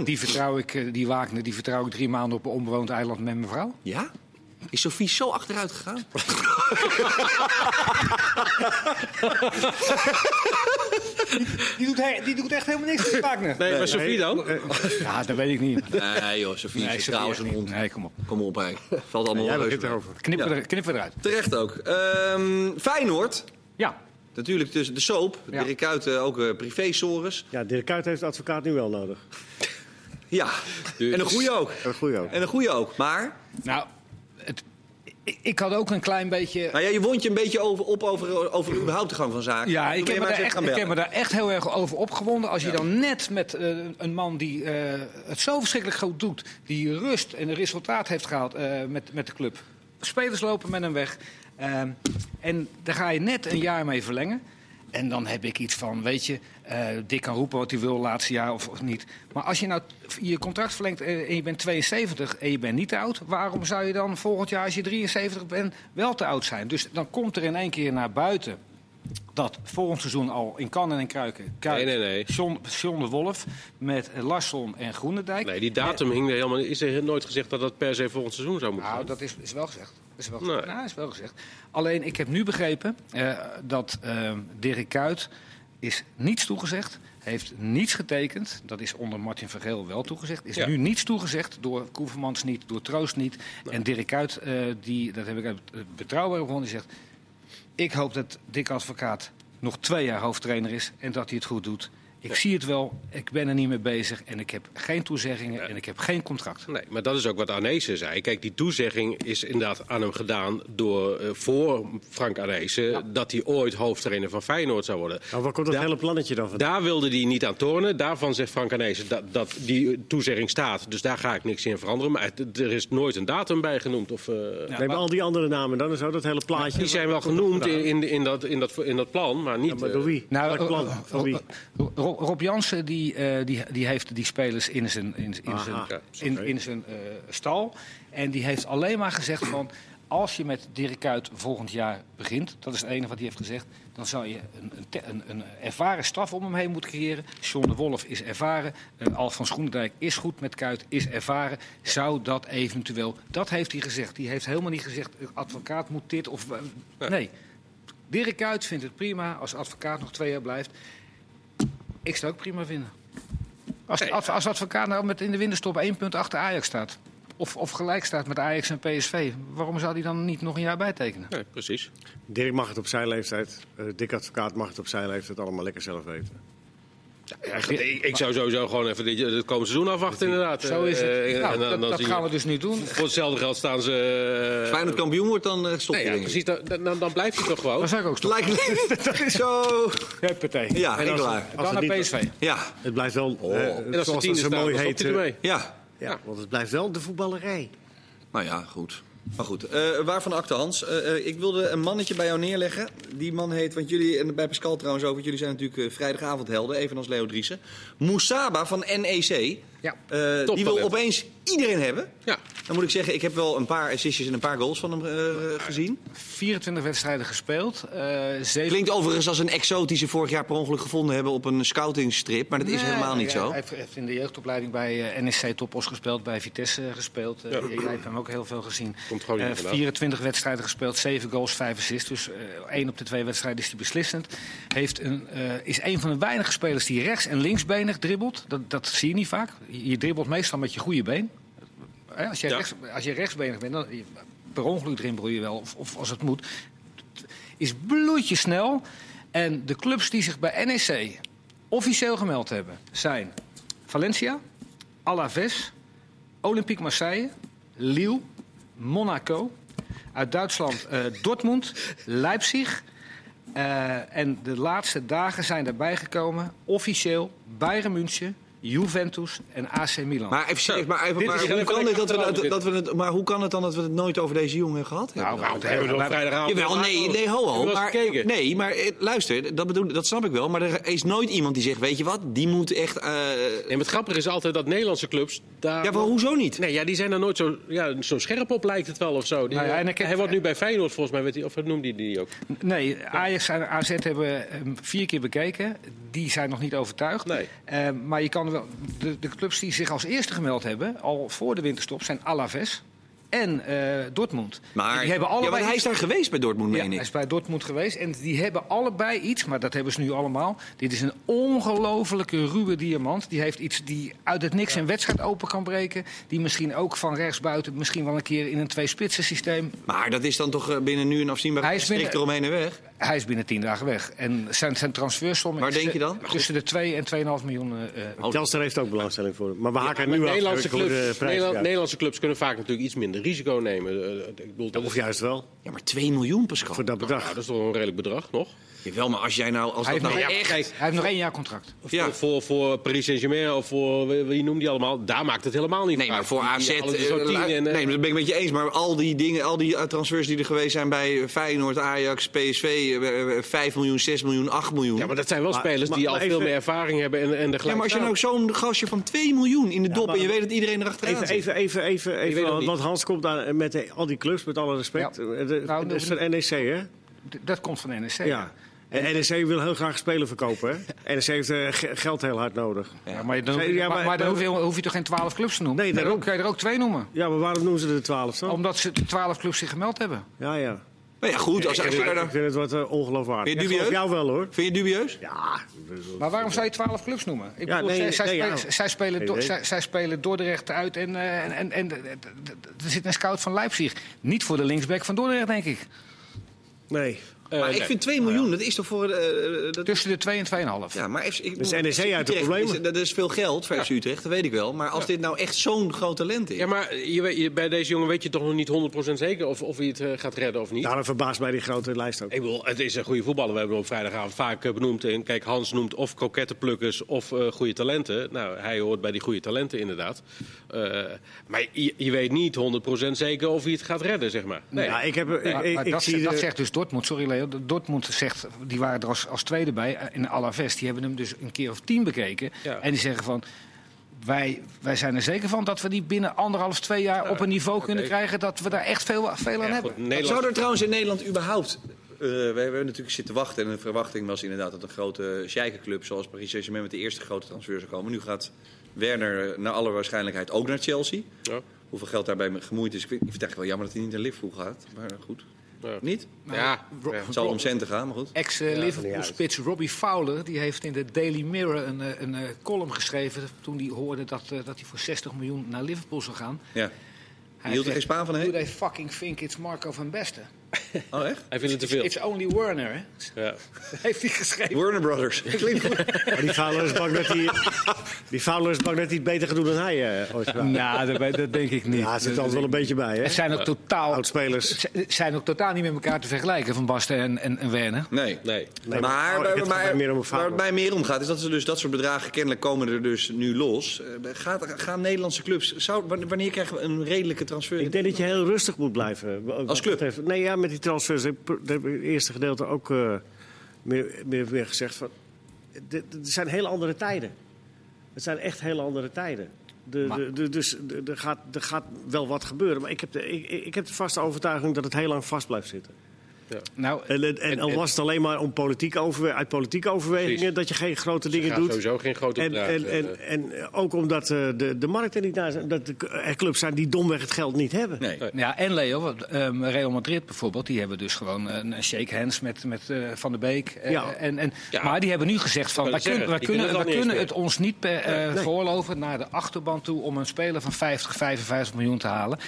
Speaker 2: 100%.
Speaker 3: Die vertrouw ik, eh, die Wagner, die vertrouw ik drie maanden op een onbewoond eiland met mijn vrouw.
Speaker 2: Ja? Is Sofie zo achteruit gegaan?
Speaker 3: Die doet, he- die doet echt helemaal niks met Wagner.
Speaker 4: Nee, maar Sofie dan?
Speaker 3: Ja, dat weet ik niet.
Speaker 2: Nee joh, Sofie
Speaker 3: Nee,
Speaker 2: is
Speaker 3: Sophie
Speaker 2: trouwens
Speaker 3: echt
Speaker 2: een
Speaker 3: niet.
Speaker 2: hond.
Speaker 3: Nee, kom op.
Speaker 2: Kom op, hè. Valt allemaal
Speaker 1: Jij
Speaker 2: reuze
Speaker 1: begint
Speaker 2: mee.
Speaker 1: erover.
Speaker 3: Knippen,
Speaker 2: Ja.
Speaker 3: er, knippen eruit.
Speaker 2: Terecht ook. Ehm, Feyenoord,
Speaker 3: Ja.
Speaker 2: natuurlijk tussen de soap.
Speaker 3: Ja.
Speaker 2: Dirk Kuyt, eh, ook eh privé-sores.
Speaker 1: Ja, Dirk Kuyt heeft advocaat nu wel nodig.
Speaker 2: Ja,
Speaker 3: Dus-
Speaker 2: en een goeie ook.
Speaker 1: Dat is goed ook.
Speaker 2: En een goeie ook. Maar,
Speaker 3: Nou, het, ik, ik had ook een klein beetje...
Speaker 2: maar nou ja, je wond je een beetje over, op over, over überhaupt de gang van zaken.
Speaker 3: Ja,
Speaker 2: Toen
Speaker 3: ik
Speaker 2: ben je
Speaker 3: heb, me
Speaker 2: maar
Speaker 3: daar
Speaker 2: eens
Speaker 3: echt,
Speaker 2: gaan
Speaker 3: ik heb
Speaker 2: bellen.
Speaker 3: me daar echt heel erg over opgewonden. Als je dan net met eh, een man die eh, het zo verschrikkelijk goed doet... die rust en resultaat heeft gehaald eh, met, met de club. Spelers lopen met hem weg. Ehm, en daar ga je net een jaar mee verlengen. En dan heb ik iets van, weet je, eh Dick kan roepen wat hij wil laatste jaar of, of niet. Maar als je nou t- je contract verlengt eh, en je bent 72 en je bent niet te oud... waarom zou je dan volgend jaar als je 73 bent wel te oud zijn? Dus dan komt er in één keer naar buiten dat volgend seizoen al in kannen en kruiken. Kuyt,
Speaker 4: Nee, nee, nee.
Speaker 3: John, John de Wolf met Larsson en Groenendijk.
Speaker 4: Nee, die datum hing er helemaal niet. Is er nooit gezegd dat dat per se volgend seizoen zou moeten
Speaker 3: Nou,
Speaker 4: zijn?
Speaker 3: dat is, is wel gezegd. Is wel
Speaker 4: Nee.
Speaker 3: gezegd. Nou, is wel gezegd. Alleen, ik heb nu begrepen eh, dat eh, Dirk Kuyt is niets toegezegd. Heeft niets getekend. Dat is onder Martin Vergeel wel toegezegd. Is
Speaker 4: Ja.
Speaker 3: nu niets toegezegd. Door Koevermans niet, door Troost niet. En Dirk Kuyt, eh, die, dat heb ik uit eh, betrouwbare bron, die zegt... Ik hoop dat Dick Advocaat nog twee jaar hoofdtrainer is en dat hij het goed doet. Ik zie het wel, ik ben er niet mee bezig en ik heb geen toezeggingen en ik heb geen contract.
Speaker 4: Nee, maar dat is ook wat Arnezen zei. Kijk, die toezegging is inderdaad aan hem gedaan door, eh, voor Frank Arnezen... dat hij ooit hoofdtrainer van Feyenoord zou worden.
Speaker 1: Nou, waar komt dat
Speaker 4: Ja.
Speaker 1: hele plannetje dan vandaan?
Speaker 4: Daar wilde hij niet aan tornen. Daarvan zegt Frank Arnezen dat, dat die toezegging staat. Dus daar ga ik niks in veranderen. Maar het- er is nooit een datum bij genoemd. Of, eh,
Speaker 1: Nee, maar al die andere namen dan en zo, dat hele plaatje.
Speaker 4: Die zijn wel
Speaker 1: Waar komt
Speaker 4: genoemd
Speaker 1: dat
Speaker 4: in,
Speaker 1: vandaan?
Speaker 4: in, in, dat, in, dat, in dat plan, maar niet...
Speaker 1: Ja, maar
Speaker 4: eh,
Speaker 1: door wie?
Speaker 3: Nou,
Speaker 1: Welk
Speaker 3: eh,
Speaker 1: plan?
Speaker 3: eh,
Speaker 1: Van wie?
Speaker 3: Ro- Ro- Rob Jansen die, eh, die, die heeft die spelers in zijn, in, in
Speaker 1: Aha,
Speaker 3: zijn,
Speaker 1: oké.
Speaker 3: in, in zijn eh, stal. En die heeft alleen maar gezegd van... als je met Dirk Kuyt volgend jaar begint... dat is het enige wat hij heeft gezegd... dan zou je een, een, te- een, een ervaren staf om hem heen moeten creëren. John de Wolf is ervaren. Eh, Alfons Groenendijk is goed met Kuyt, is ervaren. Zou dat eventueel... Dat heeft hij gezegd. Die heeft helemaal niet gezegd... eh, advocaat moet dit of... eh, Nee. Dirk Kuyt vindt het prima als advocaat nog twee jaar blijft. Ik zou het ook prima vinden. Als,
Speaker 4: Nee.
Speaker 3: als, als advocaat nou met in de winterstop één punt achter Ajax staat. Of, of gelijk staat met Ajax en PSV. Waarom zou die dan niet nog een jaar bijtekenen?
Speaker 4: Nee, precies.
Speaker 1: Dirk mag het op zijn leeftijd. eh, Dick Advocaat mag het op zijn leeftijd allemaal lekker zelf weten.
Speaker 4: ik, ik zou sowieso gewoon even dit, het komende seizoen afwachten, inderdaad.
Speaker 3: Zo is het.
Speaker 4: Eh, eh,
Speaker 3: Nou,
Speaker 4: en dan-
Speaker 3: dat
Speaker 4: dan
Speaker 3: dat
Speaker 4: zie je-
Speaker 3: gaan we dus nu doen.
Speaker 4: Voor hetzelfde geld staan ze... eh,
Speaker 2: Feyenoord kampioen wordt, dan eh, stop
Speaker 4: Nee,
Speaker 2: je
Speaker 3: Nou
Speaker 4: ja,
Speaker 2: denk ik.
Speaker 4: precies. Dan, dan, dan blijft hij toch gewoon.
Speaker 3: Dan zou ik ook stoppen. <laughs>
Speaker 2: Lijkt dat is zo...
Speaker 3: Huppatee.
Speaker 2: Ja, en klaar.
Speaker 1: Als
Speaker 3: Dan
Speaker 1: het
Speaker 3: naar
Speaker 1: niet-
Speaker 3: PSV.
Speaker 2: Ja,
Speaker 1: Het blijft wel, eh,
Speaker 4: Oh. En als ze
Speaker 1: zoals dat
Speaker 4: tiende
Speaker 1: zo
Speaker 4: staan,
Speaker 1: mooi
Speaker 4: dan
Speaker 1: heet.
Speaker 4: stopt hij
Speaker 1: eh,
Speaker 4: ermee. Oh.
Speaker 2: ja.
Speaker 1: ja, want het blijft wel de voetballerij.
Speaker 2: Nou ja, goed. Maar goed, Eh waarvan acte Hans? Eh, eh, ik wilde een mannetje bij jou neerleggen. Die man heet, want jullie, en bij Pascal trouwens ook, want jullie zijn natuurlijk eh, vrijdagavondhelden, evenals Leo Driessen. Moussaba van NEC,
Speaker 3: Ja.
Speaker 2: Eh, die wil
Speaker 4: Toptalent.
Speaker 2: opeens iedereen hebben.
Speaker 4: Ja.
Speaker 2: Dan moet ik zeggen, ik heb wel een paar assistjes en een paar goals van hem eh, gezien.
Speaker 3: 24 wedstrijden gespeeld. eh, zeven-
Speaker 2: Klinkt overigens als een exoot die ze vorig jaar per ongeluk gevonden hebben op een scoutingstrip, maar dat is
Speaker 3: Nee,
Speaker 2: helemaal niet
Speaker 3: hij-
Speaker 2: zo.
Speaker 3: Hij heeft- heeft in de jeugdopleiding bij eh, NEC Topos gespeeld, bij Vitesse gespeeld. Eh, Jij hebt hem ook heel veel gezien.
Speaker 4: Komt gewoon niet
Speaker 3: Eh,
Speaker 4: vandaan.
Speaker 3: 24 wedstrijden gespeeld, 7 goals, 5 assists. Dus eh, één op de twee wedstrijden is hij beslissend. Heeft een, eh, is een van de weinige spelers die rechts en linksbenig dribbelt. Dat, dat zie je niet vaak. Je je dribbelt meestal met je goede been. Hè, als, je
Speaker 4: Ja.
Speaker 3: rechts, als je rechtsbenig bent, dan je- per ongeluk dribbel je wel, of, of als het moet. Is bloedje snel. En de clubs die zich bij NEC officieel gemeld hebben zijn Valencia, Alaves, Olympique Marseille, Lille, Monaco, uit Duitsland eh, Dortmund, Leipzig. Eh, en de laatste dagen zijn daarbij gekomen officieel Bayern München, Juventus en AC Milan.
Speaker 2: Maar even serieus, maar, even,
Speaker 3: Dit
Speaker 2: maar
Speaker 3: is
Speaker 2: hoe
Speaker 3: gelijk
Speaker 2: kan het dat we,
Speaker 4: achteraan
Speaker 2: dat, dat we het, maar hoe kan het dan dat we het nooit over deze jongen gehad hebben?
Speaker 3: Nou, waarom
Speaker 4: hebben we het op vrijdagavond.
Speaker 2: Jawel, nee, nee, ho, ho. Maar, nee, maar eh, luister, dat, bedoel, dat snap ik wel. Maar er is nooit iemand die zegt, weet je wat, die moet echt... eh,
Speaker 4: En het grappige is altijd dat Nederlandse clubs daar...
Speaker 2: ja, maar hoezo niet?
Speaker 4: Nee, ja, die zijn er nooit zo, ja, zo scherp op, lijkt het wel of zo. Die,
Speaker 3: Nou ja, en ik heb-
Speaker 4: hij wordt nu bij Feyenoord volgens mij, werd hij, of noemde hij die ook?
Speaker 3: Nee, Ajax en AZ hebben hem vier keer bekeken. Die zijn nog niet overtuigd.
Speaker 4: Nee.
Speaker 3: Eh, maar je kan wel, de, de clubs die zich als eerste gemeld hebben, al voor de winterstop, zijn Alaves en eh, Dortmund. En
Speaker 2: Maar,
Speaker 3: die hebben
Speaker 2: ja,
Speaker 3: allebei
Speaker 2: want hij is daar geweest bij Dortmund,
Speaker 3: Ja,
Speaker 2: meen
Speaker 3: hij
Speaker 2: ik.
Speaker 3: is bij Dortmund geweest en die hebben allebei iets, maar dat hebben ze nu allemaal. Dit is een ongelofelijke ruwe diamant. Die heeft iets die uit het niks een wedstrijd open kan breken. Die misschien ook van rechts buiten, misschien wel een keer in een twee-spitsen systeem.
Speaker 2: Maar dat is dan toch eh, binnen nu een
Speaker 3: Hij
Speaker 2: afzienbare
Speaker 3: is
Speaker 2: strik
Speaker 3: binnen-
Speaker 2: eromheen en weg?
Speaker 3: Hij is binnen tien dagen weg. En zijn, zijn transfersom
Speaker 2: Waar
Speaker 3: is,
Speaker 2: denk
Speaker 3: eh,
Speaker 2: je dan?
Speaker 3: tussen de 2 en 2,5 miljoen. eh, eh,
Speaker 1: Telstar heeft ook belangstelling voor hem. Maar we haken
Speaker 4: Maar
Speaker 1: nu af.
Speaker 4: Nederlandse,
Speaker 1: Ik hoor de
Speaker 4: clubs,
Speaker 1: prijs,
Speaker 4: Nederland-
Speaker 1: ja.
Speaker 4: Nederlandse clubs kunnen vaak natuurlijk iets minder risico nemen. Eh, Ik bedoel, dat,
Speaker 1: Of
Speaker 4: is,
Speaker 1: juist wel,
Speaker 2: Ja, maar 2 miljoen, Pascal.
Speaker 1: voor dat
Speaker 4: nou,
Speaker 1: bedrag.
Speaker 4: dat is toch een redelijk bedrag nog?
Speaker 2: Jawel, maar als jij nou... Als
Speaker 3: hij,
Speaker 2: dat
Speaker 3: heeft
Speaker 2: nou
Speaker 3: nog één-
Speaker 2: echt...
Speaker 3: hij heeft nog één jaar contract.
Speaker 2: Ja.
Speaker 4: Voor, voor, voor Paris Saint-Germain of voor wie- wie noem die allemaal, daar maakt het helemaal niet
Speaker 2: Nee,
Speaker 4: uit.
Speaker 2: maar voor
Speaker 4: Die- die
Speaker 2: AZ...
Speaker 4: halen er
Speaker 2: eh,
Speaker 4: zo tien
Speaker 2: lu-
Speaker 4: en, eh,
Speaker 2: nee, maar dat ben ik met je eens. Maar al die dingen, al die eh, transfers die er geweest zijn bij eh, Feyenoord, Ajax, PSV... eh, eh, 5 miljoen, 6 miljoen, 8 miljoen.
Speaker 4: Ja, maar dat zijn wel
Speaker 1: Maar-
Speaker 4: spelers
Speaker 1: maar-
Speaker 4: die
Speaker 1: maar
Speaker 4: al veel
Speaker 1: even-
Speaker 4: meer ervaring hebben en, en de
Speaker 2: Ja, maar als je nou zo'n gastje van 2 miljoen in de dop...
Speaker 1: maar-
Speaker 2: en je weet dat iedereen erachteraan
Speaker 1: Even,
Speaker 2: zit.
Speaker 1: even, even, even,
Speaker 4: weet
Speaker 1: even
Speaker 4: het
Speaker 1: want-
Speaker 4: niet.
Speaker 1: want Hans komt daar met eh, al die clubs, met alle respect.
Speaker 3: Ja.
Speaker 1: Eh, de-
Speaker 3: Nou,
Speaker 1: dat is
Speaker 3: nog
Speaker 1: van NEC, hè?
Speaker 3: D- dat komt van NEC.
Speaker 1: Ja. En NEC wil heel graag spelen verkopen, hè? NEC heeft eh, ge- geld heel hard nodig.
Speaker 3: Ja, maar dan,
Speaker 1: Ja, maar-
Speaker 3: maar, maar dan hoef, je, hoef je toch geen 12 clubs te noemen?
Speaker 1: Nee,
Speaker 3: dan
Speaker 1: daarom.
Speaker 3: kan je er ook twee noemen.
Speaker 1: Ja, maar waarom noemen ze er 12 dan?
Speaker 3: Omdat ze 12 clubs zich gemeld hebben.
Speaker 1: Ja, ja.
Speaker 2: Nou ja, goed. Als, als je daar
Speaker 1: Ik
Speaker 2: dan-
Speaker 1: vind het wat eh, ongeloofwaardig.
Speaker 2: Vind
Speaker 1: Ik
Speaker 2: je
Speaker 1: geloof
Speaker 2: dubieus?
Speaker 1: jou wel, hoor.
Speaker 2: Vind je het dubieus?
Speaker 1: Ja.
Speaker 3: Maar waarom zou je 12 clubs noemen? Ik
Speaker 1: Ja,
Speaker 3: bedoel,
Speaker 1: nee,
Speaker 3: zij, zij
Speaker 1: nee,
Speaker 3: spelen,
Speaker 1: ja.
Speaker 3: zij, spelen
Speaker 1: Geen
Speaker 3: door-
Speaker 1: idee.
Speaker 3: zij, zij spelen Dordrecht uit en, eh, en, en, en eh, d- d- d- er zit een scout van Leipzig. Niet voor de linksback van Dordrecht, denk ik.
Speaker 1: Nee.
Speaker 4: eh,
Speaker 2: maar
Speaker 4: nee.
Speaker 2: ik vind 2 miljoen, dat is toch voor... eh, dat,
Speaker 3: Tussen de 2 en 2,5.
Speaker 2: ja, maar FC, ik
Speaker 1: Dus
Speaker 2: bedoel,
Speaker 1: NEC
Speaker 2: FC
Speaker 1: uit de
Speaker 2: Utrecht
Speaker 1: problemen.
Speaker 2: is- Dat is veel geld voor FC Utrecht, dat weet ik wel. Maar als dit nou echt zo'n groot talent is...
Speaker 4: Ja, maar je, weet- je- bij deze jongen weet je toch nog niet 100% zeker of, of hij het eh, gaat redden of niet?
Speaker 2: Nou,
Speaker 1: Daarom verbaast mij die grote lijst ook.
Speaker 4: Ik bedoel, het is een goede voetballer. We hebben hem op vrijdagavond vaak eh, benoemd. En kijk, Hans noemt of krokettenplukkers of eh, goede talenten. Nou, hij hoort bij die goede talenten inderdaad. Eh, maar je, je weet niet 100% zeker of hij het gaat redden, zeg maar. Nee.
Speaker 2: Nou,
Speaker 1: Ja, ik heb... ik-
Speaker 3: Maar,
Speaker 1: ik-
Speaker 3: maar
Speaker 1: ik
Speaker 3: dat,
Speaker 1: zie
Speaker 3: zegt-
Speaker 1: de-
Speaker 3: dat zegt dus Dortmund. Sorry Leo, dat Dortmund zegt, die waren er als, als tweede bij eh, in Alaves. Die hebben hem dus een keer of tien bekeken.
Speaker 4: Ja.
Speaker 3: En die zeggen van, wij, wij zijn er zeker van dat we die binnen anderhalf, twee jaar op een niveau kunnen krijgen dat we daar echt veel, veel aan
Speaker 4: Ja,
Speaker 3: hebben.
Speaker 4: goed, Nederland-
Speaker 2: Zou er trouwens in Nederland überhaupt... eh, we hebben natuurlijk zitten wachten en de verwachting was inderdaad dat een grote sjeikerclub zoals Paris Saint-Germain met de eerste grote transfer zou komen. Nu gaat Werner eh, naar alle waarschijnlijkheid ook naar Chelsea.
Speaker 4: Ja.
Speaker 2: Hoeveel geld daarbij gemoeid is, ik vind ik vind het eigenlijk wel jammer dat hij niet naar Liverpool gaat. Maar goed,
Speaker 4: Ja.
Speaker 2: niet?
Speaker 4: Ja, ja.
Speaker 2: Het zal om centen gaan, maar goed.
Speaker 3: Ex-Liverpool-spits Robbie Fowler die heeft in de Daily Mirror een, eh, een eh, column geschreven... toen hij hoorde dat, eh, dat hij voor 60 miljoen naar Liverpool zou gaan.
Speaker 2: Ja.
Speaker 3: Hij
Speaker 2: Hield er
Speaker 3: zegt,
Speaker 2: geen Spaan van, hè?
Speaker 3: Do they fucking think it's Marco van Basten?
Speaker 2: Oh, echt?
Speaker 4: Hij vindt het te veel.
Speaker 3: It's only Werner, hè?
Speaker 4: Ja.
Speaker 3: Heeft hij geschreven.
Speaker 2: Warner Brothers. Klinkt goed.
Speaker 1: Maar die Fowler is bang dat hij... Die Fowler is bang dat hij het beter gaat doen dan hij eh, ooit gedaan.
Speaker 3: Nou, dat, weet- dat denk ik niet.
Speaker 1: Ja, het zit altijd wel een beetje bij,
Speaker 3: Het
Speaker 1: hè?
Speaker 3: zijn ook totaal,
Speaker 1: Oudspelers.
Speaker 3: het z- zijn ook totaal niet met elkaar te vergelijken, Van Basten en, en, en Werner.
Speaker 2: Nee.
Speaker 4: Nee.
Speaker 1: Nee,
Speaker 2: maar
Speaker 1: oh,
Speaker 2: waar-
Speaker 1: het gaat
Speaker 2: waar-
Speaker 1: mij meer om een
Speaker 2: waar
Speaker 1: Fowler.
Speaker 2: het mij meer om gaat, is dat ze dus dat soort bedragen kennelijk komen er dus nu los. Eh, Gaat, gaan Nederlandse clubs, zou, wanneer krijgen we een redelijke transfer?
Speaker 1: Ik denk dat je heel rustig moet blijven. wat dat
Speaker 2: club?
Speaker 1: betreft. Nee, ja, met die transfers. Ik pr- Dat heb ik in het eerste gedeelte ook eh, meer, meer, meer gezegd. Van, dit- dit zijn heel andere tijden. Het zijn echt heel andere tijden. De,
Speaker 3: Maar-
Speaker 1: de, de- dus de- er gaat, er gaat wel wat gebeuren. Maar ik heb, de, ik, ik ik heb de vaste overtuiging dat het heel lang vast blijft zitten.
Speaker 3: Nou,
Speaker 1: En, en, en al was het alleen maar om politieke overwe- uit politieke overwegingen
Speaker 4: Precies.
Speaker 1: dat je geen grote
Speaker 4: Hij
Speaker 1: dingen
Speaker 4: gaat
Speaker 1: doet.
Speaker 4: sowieso geen grote
Speaker 1: En,
Speaker 4: bedragen.
Speaker 1: en, en, en ook omdat eh, de, de markt er niet naar zijn. Dat de- er clubs zijn die domweg het geld niet hebben.
Speaker 2: Nee.
Speaker 3: ja, en Leo, want, ehm, Real Madrid bijvoorbeeld, die hebben dus gewoon een een shake hands met, met eh, Van der Beek. eh,
Speaker 1: Ja.
Speaker 3: En, en,
Speaker 4: Ja.
Speaker 3: Maar die hebben nu gezegd van,
Speaker 4: Ik
Speaker 3: wij
Speaker 4: wou
Speaker 3: kunnen,
Speaker 4: zeggen,
Speaker 3: wij
Speaker 4: die
Speaker 3: kunnen, wij
Speaker 4: kunnen dat niet
Speaker 3: kunnen
Speaker 4: eens
Speaker 3: het ons niet per, eh, veroorloven naar de achterban toe om een speler van 50, 55 miljoen te halen.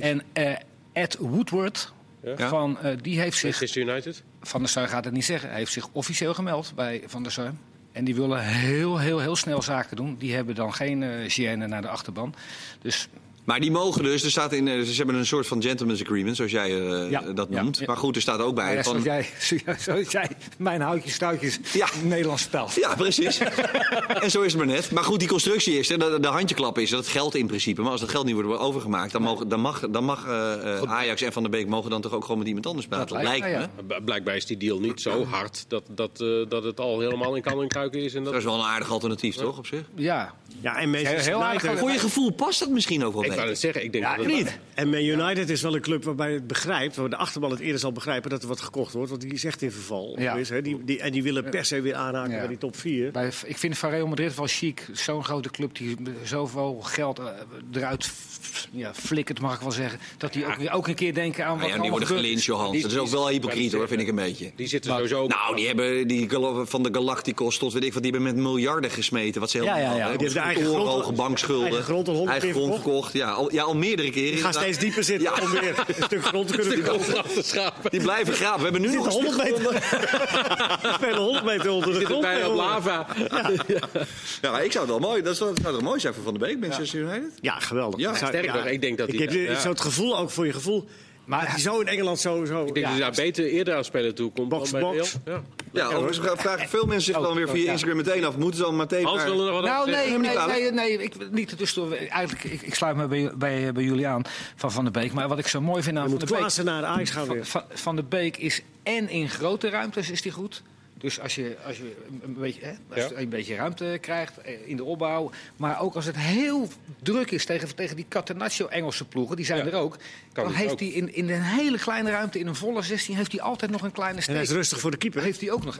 Speaker 3: en eh, Ed Woodward, van, eh, die heeft zich
Speaker 4: Manchester United?
Speaker 3: Van der Sar gaat het niet zeggen. Hij heeft zich officieel gemeld bij Van der Sar. En die willen heel, heel, heel snel zaken doen. Die hebben dan geen eh gêne naar de achterban. Dus
Speaker 2: Maar die mogen dus, er staat in, eh, ze hebben een soort van gentleman's agreement, zoals jij eh,
Speaker 3: Ja.
Speaker 2: dat
Speaker 3: Ja.
Speaker 2: noemt.
Speaker 3: Ja.
Speaker 2: Maar goed, er staat ook bij.
Speaker 3: Ja,
Speaker 2: van,
Speaker 3: zoals, jij, <laughs> zoals jij mijn houtjes, touwtjes,
Speaker 2: Ja.
Speaker 3: Nederlands spel.
Speaker 2: Ja, precies. <laughs> en zo is het maar net. Maar goed, die constructie is, hè, de, de handjeklap is, dat geldt in principe. Maar als dat geld niet wordt overgemaakt, dan, mogen, dan mag, dan mag eh, eh, Ajax en Van der Beek mogen dan toch ook gewoon met iemand anders praten.
Speaker 3: lijkt
Speaker 2: lijkt
Speaker 3: mij,
Speaker 2: me.
Speaker 3: Nou ja.
Speaker 4: B- Blijkbaar is die deal niet zo hard dat, dat, eh, dat het al helemaal in kan en kruiken is. En
Speaker 2: Dat
Speaker 4: dat...
Speaker 2: is wel een aardig alternatief, toch, op zich?
Speaker 3: Ja.
Speaker 1: Ja, en Man
Speaker 3: Heel- heel
Speaker 1: United,
Speaker 3: aardig.
Speaker 2: Voor je gevoel past dat misschien ook wel
Speaker 4: Ik kan
Speaker 2: beter.
Speaker 4: het zeggen, ik denk dat het-
Speaker 1: niet. En Man United is wel een club waarbij het begrijpt, waar de achterban het eerder zal begrijpen dat er wat gekocht wordt. Want die is echt in verval.
Speaker 3: Ja.
Speaker 1: Is, hè? Die, die, en die willen per se weer aanraken
Speaker 3: Ja.
Speaker 1: bij die top 4.
Speaker 3: Bij, ik vind van Real Madrid wel chic. Zo'n grote club die zoveel geld eh, eruit f- ja, flikkert, mag ik wel zeggen. Dat die ook, weer- ook een keer denken aan
Speaker 2: Nou
Speaker 3: wat
Speaker 2: ja,
Speaker 3: er
Speaker 2: die worden
Speaker 3: allemaal gebeurd
Speaker 2: gelincht,
Speaker 3: is.
Speaker 2: Johans. Dat is ook wel hypocriet, hoor, vind ik een beetje.
Speaker 4: Die zitten sowieso...
Speaker 2: Nou, die hebben die gal- van de Galacticos tot weet ik wat, die hebben met miljarden gesmeten. Wat ze helemaal
Speaker 1: Ja, ja, ja.
Speaker 2: hadden, hè.
Speaker 1: Die hebben de eigen
Speaker 2: Torenhoge
Speaker 1: grond al-
Speaker 2: bankschulden.
Speaker 1: eigen grond al honderd
Speaker 2: Eigen
Speaker 1: keer
Speaker 2: grond verkocht. Ja, al, ja, al meerdere keren.
Speaker 1: Die gaan steeds dieper zitten
Speaker 2: Ja.
Speaker 1: om weer een stuk grond te
Speaker 4: <laughs>
Speaker 1: kunnen kopen.
Speaker 4: Af te schapen.
Speaker 2: Die blijven graven. We hebben nu nog
Speaker 1: Zitten
Speaker 2: een stuk
Speaker 1: 100 meter. <laughs> Die spelen 100 meter onder de grond.
Speaker 4: Bijna op
Speaker 1: tegenwoordig.
Speaker 4: lava.
Speaker 2: Ja, maar Ah, ik zou het wel mooi. Dat zou, dat zou toch mooi zijn voor Van der Beek, Manchester United?
Speaker 1: Ja, geweldig.
Speaker 2: Ja,
Speaker 1: Ik zou-
Speaker 4: sterker nog, ik denk dat
Speaker 1: ik
Speaker 4: die-
Speaker 1: heb dit-
Speaker 4: ja.
Speaker 1: zo het gevoel, ook voor je gevoel. Maar dat die zo in Engeland zo. zo
Speaker 4: Ik denk dat hij daar beter eerder aan spelen toe komt
Speaker 1: Box,
Speaker 4: dan bij
Speaker 1: box.
Speaker 4: Real. Ja.
Speaker 2: Ja, overigens vra- vragen veel mensen zich
Speaker 3: Oh,
Speaker 2: dan weer
Speaker 3: oh,
Speaker 2: via
Speaker 3: ja.
Speaker 2: Instagram meteen af. Moeten ze dan meteen
Speaker 4: Hans
Speaker 2: maar-
Speaker 4: wilde nog wat
Speaker 3: Nou,
Speaker 4: over
Speaker 3: nee,
Speaker 4: zeggen.
Speaker 3: nee,
Speaker 2: niet kwalijk.
Speaker 3: nee, nee, ik, niet ertussendoor. Eigenlijk, ik, ik sluit me bij, bij, bij jullie aan van Van der Beek. Maar wat ik zo mooi vind aan
Speaker 1: Dan
Speaker 3: Van
Speaker 1: moet
Speaker 3: der Beek...
Speaker 1: Klaassen naar de Ajax gaan
Speaker 3: Van,
Speaker 1: weer.
Speaker 3: van, Van der Beek is en in grote ruimtes is hij goed. Dus als je, als je, een, beetje, hè, als
Speaker 4: Ja.
Speaker 3: je een beetje ruimte krijgt eh, in de opbouw. Maar ook als het heel druk is tegen, tegen die Catenaccio Engelse ploegen, die zijn
Speaker 4: Ja.
Speaker 3: er ook.
Speaker 4: Kan
Speaker 3: dan
Speaker 4: het
Speaker 3: heeft
Speaker 4: ook.
Speaker 3: hij in, in een hele kleine ruimte, in een volle 16, heeft hij altijd nog een kleine
Speaker 1: En hij
Speaker 3: steek.
Speaker 1: is rustig voor de keeper. hè?
Speaker 3: Heeft hij ook nog.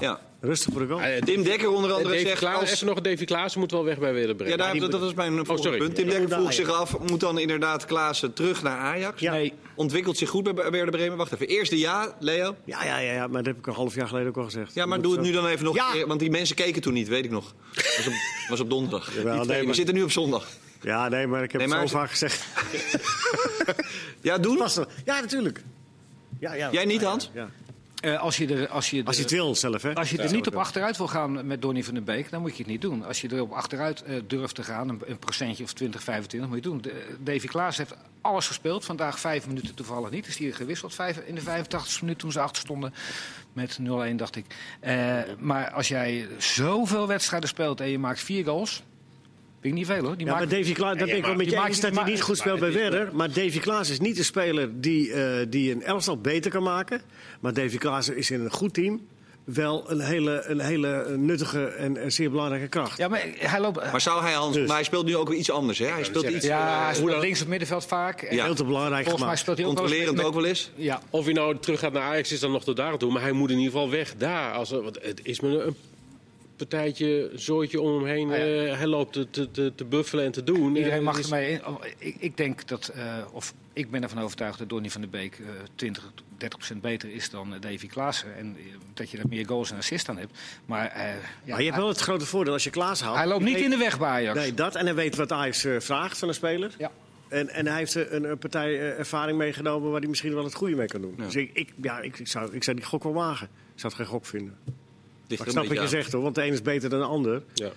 Speaker 2: Ja.
Speaker 1: Rustig voor de goal.
Speaker 4: Ah, eh,
Speaker 2: Tim Dekker onder andere
Speaker 4: Davy
Speaker 2: zegt...
Speaker 4: Klaassen,
Speaker 2: als-
Speaker 4: even nog Davy Klaassen moet wel weg bij Willem
Speaker 2: Ja,
Speaker 4: Breda.
Speaker 2: daar, dat, dat was mijn volgende
Speaker 4: sorry.
Speaker 2: punt. Tim Dekker vroeg zich af, moet dan inderdaad Klaassen terug naar Ajax?
Speaker 1: Ja.
Speaker 3: Nee.
Speaker 2: Ontwikkelt zich goed bij bij Werder Bremen? Wacht even, eerste ja, Leo?
Speaker 1: Ja, ja, ja, ja, maar dat heb ik een half jaar geleden ook al gezegd.
Speaker 2: Ja, maar
Speaker 1: Je
Speaker 2: doe
Speaker 1: moet
Speaker 2: het
Speaker 1: zo-
Speaker 2: nu dan even nog
Speaker 1: Ja.
Speaker 2: een keer, Want die mensen keken toen niet, weet ik nog. Was op, <laughs> was op donderdag.
Speaker 1: Jawel,
Speaker 2: Die twee,
Speaker 1: nee,
Speaker 2: We
Speaker 1: maar-
Speaker 2: zitten nu op zondag.
Speaker 1: Ja, nee, maar ik heb
Speaker 2: Nee, maar
Speaker 1: het
Speaker 2: als-
Speaker 1: zo vaak gezegd.
Speaker 2: Ja, doen?
Speaker 1: Pas er- Ja, natuurlijk. Ja, ja,
Speaker 2: Jij niet, Hans?
Speaker 1: Ja.
Speaker 3: Eh, als je er, als je er,
Speaker 1: Als je het wil zelf, hè?
Speaker 3: Als je er niet op achteruit wil gaan met Donny van den Beek, dan moet je het niet doen. Als je erop achteruit eh, durft te gaan, een, een procentje of 20, 25, moet je het doen. De- eh, Davy Klaas heeft alles gespeeld. Vandaag vijf minuten toevallig niet. Is hier gewisseld vijf, in de 85ste minuut toen ze achter stonden. Met 0-1 dacht ik. Eh, maar als jij zoveel wedstrijden speelt en je maakt vier goals. Vind ik niet veel hoor. Die
Speaker 1: Ja, maar
Speaker 3: maakt-
Speaker 1: Davy Klaas, dat ben ik wel met
Speaker 3: die
Speaker 1: je
Speaker 3: maakt-
Speaker 1: eens dat
Speaker 3: die
Speaker 1: hij niet
Speaker 3: maakt-
Speaker 1: goed speelt bij
Speaker 3: maar het is-
Speaker 1: Werder. Maar Davy Klaas is niet een speler die, eh, die een elftal beter kan maken. Maar Davy Klaas is in een goed team wel een hele, een hele nuttige en, en zeer belangrijke kracht.
Speaker 3: Ja, maar hij loopt.
Speaker 2: Maar zou hij, Hans...
Speaker 1: Dus.
Speaker 2: Maar hij speelt nu ook weer iets anders, hè? Hij speelt iets
Speaker 3: ja, hij
Speaker 2: eh,
Speaker 3: speelt links op middenveld vaak. En
Speaker 2: Ja.
Speaker 1: Heel te belangrijk
Speaker 3: Volgens mij
Speaker 1: gemaakt.
Speaker 3: speelt hij ook wel eens
Speaker 2: controlerend
Speaker 3: met-
Speaker 2: ook wel eens.
Speaker 3: Ja,
Speaker 4: Of hij nou terug gaat naar Ajax is dan nog tot daar toe. Maar hij moet in ieder geval weg daar. Als, er- want het is me een partijtje, zooitje om hem heen.
Speaker 3: Ah, ja.
Speaker 4: eh, hij loopt te, te, te, te buffelen en te doen.
Speaker 3: Iedereen
Speaker 4: Eh,
Speaker 3: mag
Speaker 4: het is-
Speaker 3: ermee in. Oh, Ik, ik denk dat, eh, of ik ben ervan overtuigd dat Donny van der Beek eh, 20, 30 beter is dan eh, Davy Klaassen. En eh, dat je daar meer goals en assists aan hebt. Maar, eh, ja,
Speaker 1: Maar je hebt
Speaker 3: hij,
Speaker 1: wel het grote voordeel als je Klaas haalt.
Speaker 3: hij loopt niet
Speaker 1: Hij-
Speaker 3: in de weg bij Ajax.
Speaker 1: Nee, dat. En hij weet wat Ajax eh, vraagt van een speler.
Speaker 3: Ja.
Speaker 1: En, en hij heeft eh, een, een partij eh, ervaring meegenomen waar hij misschien wel het goede mee kan doen. Dus ik, ik, ja, ik, ik zou, ik zou die gok wel wagen. Ik zou het geen gok vinden.
Speaker 2: Ligt
Speaker 1: Maar
Speaker 2: er
Speaker 1: ik
Speaker 2: een
Speaker 1: snap wat je zegt
Speaker 2: beetje aan.
Speaker 1: hoor, want de een is beter dan de ander.
Speaker 4: Ja.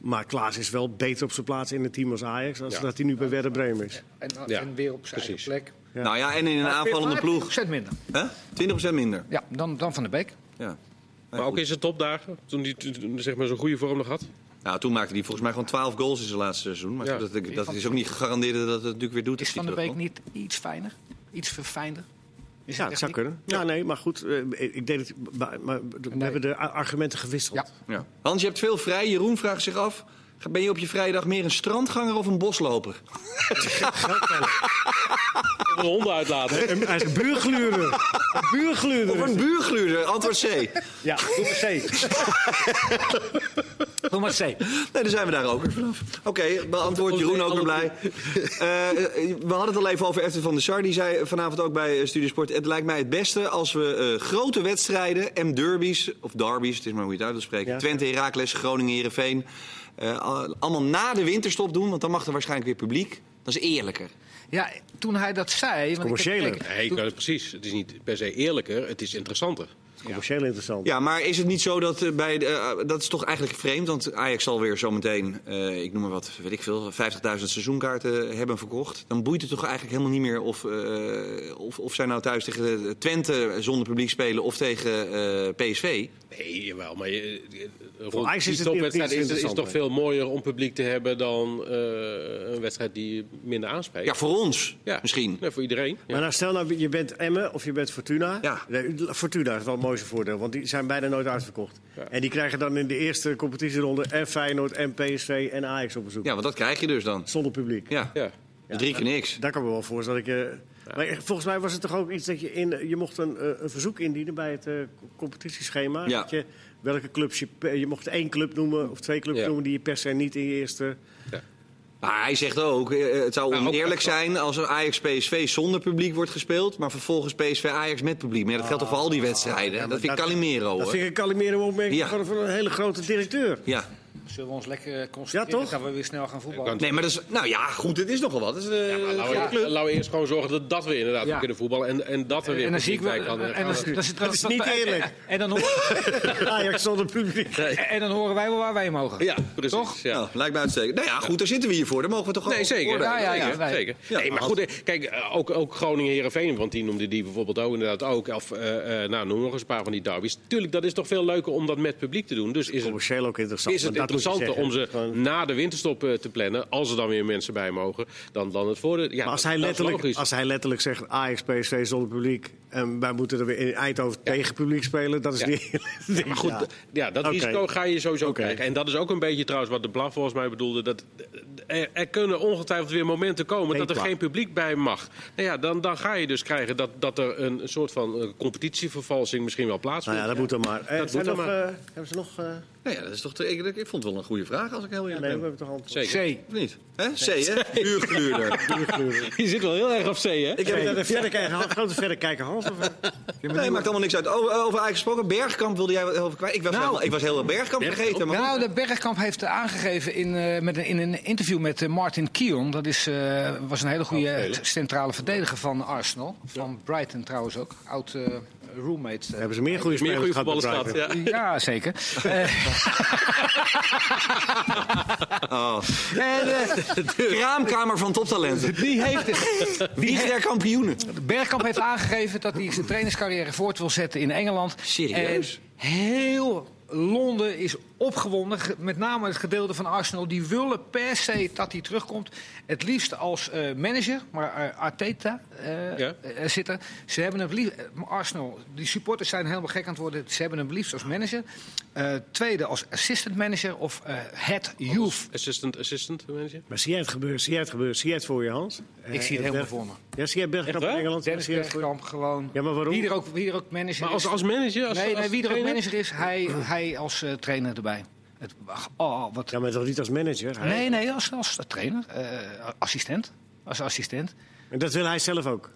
Speaker 1: Maar Klaas is wel beter op zijn plaats in een team als Ajax. Als
Speaker 4: Ja.
Speaker 1: dat hij nu bij Werder Bremen is.
Speaker 3: En, eh,
Speaker 4: Ja,
Speaker 3: en weer op zijn
Speaker 4: precies.
Speaker 3: eigen plek.
Speaker 1: Ja.
Speaker 2: Nou ja, en in een aanvallende
Speaker 3: Maar
Speaker 2: ploeg.
Speaker 3: 20% minder.
Speaker 2: Hè? 20% minder.
Speaker 3: Ja, dan, dan van der Beek.
Speaker 2: Ja.
Speaker 4: Maar ook in zijn topdagen, toen hij toen, zeg maar, zo'n goede vorm nog had.
Speaker 2: Nou, toen maakte hij volgens mij gewoon 12 goals in zijn laatste seizoen. Maar
Speaker 4: Ja.
Speaker 2: goed, dat, dat is ook niet gegarandeerd dat het natuurlijk weer doet.
Speaker 3: Is
Speaker 2: als hij
Speaker 3: van der Beek
Speaker 2: terugkomt.
Speaker 3: niet iets fijner? Iets verfijnder? Is
Speaker 1: Ja,
Speaker 3: het
Speaker 1: dat
Speaker 3: echt
Speaker 1: zou
Speaker 3: niet-
Speaker 1: kunnen. Ja, nee, maar goed. eh, ik ik deed het, maar, maar we hebben de a- argumenten gewisseld.
Speaker 3: Ja.
Speaker 2: Ja. Hans, je hebt veel vrij. Jeroen vraagt zich af. Ben je op je vrijdag meer een strandganger of een bosloper?
Speaker 4: Een honden uitlaten.
Speaker 1: Een- Hij is een buurgluurder. Een
Speaker 2: Of
Speaker 1: buurgluurder.
Speaker 2: een buurgluurder? Antwoord C.
Speaker 1: Ja, doe maar C.
Speaker 3: Doe maar het C.
Speaker 2: <laughs> Nee, dan zijn we daar ook weer vanaf. Oké, beantwoord Jeroen ook weer blij. Eh, eh, we hadden het al even over Efton van der Sar. Die zei vanavond ook bij eh, Studiosport... het lijkt mij het beste als we eh, grote wedstrijden... en derbies, of derbies, het is maar hoe je het uit wil spreken...
Speaker 1: Ja.
Speaker 2: Twente, Heracles, Groningen, Heerenveen... eh, al- allemaal na de winterstop doen, want dan mag er waarschijnlijk weer publiek. Dat is eerlijker.
Speaker 3: Ja, toen hij dat zei... want ik heb
Speaker 1: Commerciëler.
Speaker 3: gekeken-
Speaker 4: Nee, ik weet het precies. Het is niet per se eerlijker, het is interessanter.
Speaker 1: Commercieel interessant.
Speaker 2: Ja, maar is het niet zo dat eh, bij de, eh, dat is toch eigenlijk vreemd, want Ajax zal weer zometeen, eh ik noem maar wat, weet ik veel, 50.000 seizoenkaarten hebben verkocht. Dan boeit het toch eigenlijk helemaal niet meer of, eh, of, of zij nou thuis tegen eh, Twente zonder publiek spelen of tegen eh, PSV.
Speaker 4: Nee, jawel, maar je, je-
Speaker 1: Ajax
Speaker 4: rond
Speaker 1: is
Speaker 4: die
Speaker 1: het
Speaker 4: topwedstrijd
Speaker 1: niet
Speaker 4: is, is
Speaker 1: interessant,
Speaker 4: toch
Speaker 1: hè?
Speaker 4: veel mooier om publiek te hebben dan eh, een wedstrijd die minder aanspreekt.
Speaker 2: Ja, voor ons
Speaker 4: Ja.
Speaker 2: misschien.
Speaker 4: Nee, voor iedereen. Ja.
Speaker 1: Maar nou, stel nou, je bent Emmen of je bent Fortuna.
Speaker 2: Ja.
Speaker 1: Nee, Fortuna is wel het mooiste voordeel, want die zijn bijna nooit uitverkocht. En die krijgen dan in de eerste competitieronde en Feyenoord en PSV en Ajax op bezoek.
Speaker 2: Ja, want dat krijg je dus dan.
Speaker 1: Zonder publiek.
Speaker 2: Ja,
Speaker 4: Ja.
Speaker 2: Dus drie keer niks.
Speaker 1: Daar kan ik me wel voorstellen. Dat ik, eh, maar eh, volgens mij was het toch ook iets dat je in... Je mocht een, eh, een verzoek indienen bij het eh, co- competitieschema.
Speaker 2: Ja.
Speaker 1: Dat je, welke clubs je... pe- Je mocht één club noemen of twee clubs
Speaker 4: Ja.
Speaker 1: noemen die je per se niet in je eerste...
Speaker 2: Maar hij zegt ook, eh, het zou
Speaker 4: Nou, ook-
Speaker 2: oneerlijk zijn als er Ajax-PSV zonder publiek wordt gespeeld, maar vervolgens PSV-Ajax met publiek. Maar ja, dat geldt toch voor al die wedstrijden. dat vind ik Calimero,
Speaker 1: Dat
Speaker 2: hoor.
Speaker 1: vind ik een Calimero opmerking
Speaker 2: Ja.
Speaker 1: van, van een hele grote
Speaker 4: <laughs>
Speaker 1: directeur.
Speaker 2: Ja.
Speaker 3: Zullen we ons lekker eh, concentreren
Speaker 1: Ja, toch?
Speaker 3: dat we weer snel gaan voetballen?
Speaker 2: Nee, maar dat is. Nou ja, goed, het is nogal wat. Het is, eh,
Speaker 4: Ja, maar laten, we, laten we eerst gewoon zorgen dat, dat we inderdaad
Speaker 3: Ja.
Speaker 4: kunnen voetballen. En, en dat we weer
Speaker 3: En dan zie ik
Speaker 4: publiek bij
Speaker 3: wel.
Speaker 4: kan-
Speaker 3: en
Speaker 4: eh, <laughs> gaan-
Speaker 3: dan- dan- dan-
Speaker 1: Dat is niet
Speaker 3: dan-
Speaker 1: eerlijk.
Speaker 3: En dan, horen-
Speaker 1: Ajax zonder publiek.
Speaker 3: en dan horen wij wel waar wij mogen.
Speaker 4: Ja, precies.
Speaker 3: Toch?
Speaker 4: Ja.
Speaker 2: Nou, lijkt me uitstekend. Nou ja, goed, daar zitten we hier voor. Daar mogen we toch
Speaker 4: Nee,
Speaker 2: gewoon
Speaker 4: zeker.
Speaker 2: oordelen.
Speaker 3: Ja, ja, ja,
Speaker 4: zeker.
Speaker 3: nee.
Speaker 4: zeker.
Speaker 2: Ja,
Speaker 4: nee, maar
Speaker 2: had-
Speaker 4: goed, eh, kijk, eh, ook, ook Groningen-Herenveen, want die noemde die bijvoorbeeld ook inderdaad ook. Of, eh, eh, nou, noem nog eens een paar van die derbies. Tuurlijk, dat is toch veel leuker om dat met publiek te doen. Dus is het,
Speaker 1: Commercieel ook interessant.
Speaker 4: is het
Speaker 1: maar dat moet je
Speaker 4: interessanter om
Speaker 1: zeggen.
Speaker 4: ze
Speaker 1: Gewoon-
Speaker 4: na de winterstop eh, te plannen, als er dan weer mensen bij mogen, dan, dan het voordeel. Ja,
Speaker 1: Maar als
Speaker 4: dat-
Speaker 1: hij,
Speaker 4: dat is
Speaker 1: letterlijk,
Speaker 4: logisch.
Speaker 1: als hij letterlijk zegt Ajax, PSV zonder publiek... en wij moeten er weer in Eindhoven tegen publiek spelen... dat is
Speaker 4: Ja.
Speaker 1: niet... <laughs>
Speaker 4: Maar goed,
Speaker 1: Ja.
Speaker 4: d- ja, dat
Speaker 1: Oké.
Speaker 4: risico ga je sowieso
Speaker 1: Oké.
Speaker 4: krijgen. En dat is ook een beetje trouwens wat de Blaf volgens mij bedoelde. Dat er, er kunnen ongetwijfeld weer momenten komen dat er
Speaker 1: Heetwaar.
Speaker 4: geen publiek bij mag. Nou ja, dan, dan ga je dus krijgen dat, dat er een soort van eh, competitievervalsing misschien wel
Speaker 1: Nou
Speaker 4: plaatsvindt.
Speaker 1: ja, dat moet dan maar. Eh,
Speaker 4: Dat
Speaker 1: zijn
Speaker 4: moet
Speaker 1: nog,
Speaker 4: dan maar.
Speaker 1: eh, hebben ze nog... eh,
Speaker 2: Nou ja, dat is toch. te- Ik, ik vond het wel een goede vraag als ik heel
Speaker 1: nee,
Speaker 2: eerlijk
Speaker 1: we
Speaker 2: ben.
Speaker 1: hebben toch antwoord.
Speaker 4: Zeker.
Speaker 3: C.
Speaker 2: Of niet? Hè? C, hè? Huurgluurder.
Speaker 4: <laughs> Je zit wel heel erg op C, hè?
Speaker 2: ik
Speaker 1: Heb eh, je
Speaker 2: heb.
Speaker 1: daar een verrekijker- een grote verrekijker <laughs> Hans? Of,
Speaker 2: Nee, maakt allemaal niks uit. Oh, eh, over Ajax gesproken. Bergkamp wilde jij wat over kwijt. Ik was,
Speaker 4: Nou.
Speaker 2: helemaal, ik was heel Bergkamp vergeten. Maar
Speaker 3: Nou, de Bergkamp heeft eh, aangegeven in, eh, met een, in een interview met eh, Martin Keown. Dat is, eh, was een hele
Speaker 4: Oh,
Speaker 3: goede eh, centrale verdediger van Arsenal. Van Brighton trouwens ook. Oud eh, roommate. eh.
Speaker 1: hebben ze meer goede
Speaker 4: Meer
Speaker 1: spelers
Speaker 4: goede
Speaker 1: gehad bij
Speaker 4: voetballers gehad.
Speaker 1: Brighton?
Speaker 4: Ja.
Speaker 3: Ja, zeker. Eh.
Speaker 4: <laughs>
Speaker 2: Oh.
Speaker 3: En, eh,
Speaker 2: Kraamkamer van
Speaker 4: <laughs>
Speaker 2: toptalenten.
Speaker 3: die heeft,
Speaker 2: Wie is daar kampioenen?
Speaker 3: Bergkamp heeft aangegeven dat hij zijn trainerscarrière voort wil zetten in Engeland.
Speaker 2: Serieus?
Speaker 3: En heel Londen is opgewonden. Ge- Met name het gedeelte van Arsenal. Die willen per se dat hij terugkomt. Het liefst als eh, manager, maar eh, Arteta eh
Speaker 4: Ja.
Speaker 3: eh, zit er. Ze hebben hem liefst, Arsenal, die supporters zijn helemaal gek aan het worden. Ze hebben hem liefst als manager. Eh, tweede als assistant manager of eh head youth.
Speaker 4: Assistant, assistant manager.
Speaker 1: Maar zie jij het gebeuren? Zie jij het gebeuren? Zie jij het voor je, Hans? Eh,
Speaker 3: Ik zie het helemaal voor me.
Speaker 1: Ja, zie jij Bergkamp
Speaker 4: Echt
Speaker 1: in
Speaker 4: waar?
Speaker 1: Engeland?
Speaker 3: Dennis
Speaker 1: Zie jij het voor je?
Speaker 3: Dus Bergkamp gewoon.
Speaker 1: Ja, maar waarom?
Speaker 3: Wie er ook, wie er ook manager
Speaker 4: Maar
Speaker 3: is.
Speaker 4: als, als manager? Als,
Speaker 3: nee,
Speaker 4: als
Speaker 3: nee, wie er ook
Speaker 4: trainer?
Speaker 3: manager is, hij, hij als eh, trainer erbij. Het, ach, oh, wat,
Speaker 1: Ja, maar toch niet als manager? hè?
Speaker 3: nee, nee, als, als trainer. eh, assistent. Als assistent.
Speaker 1: En dat wil hij zelf ook?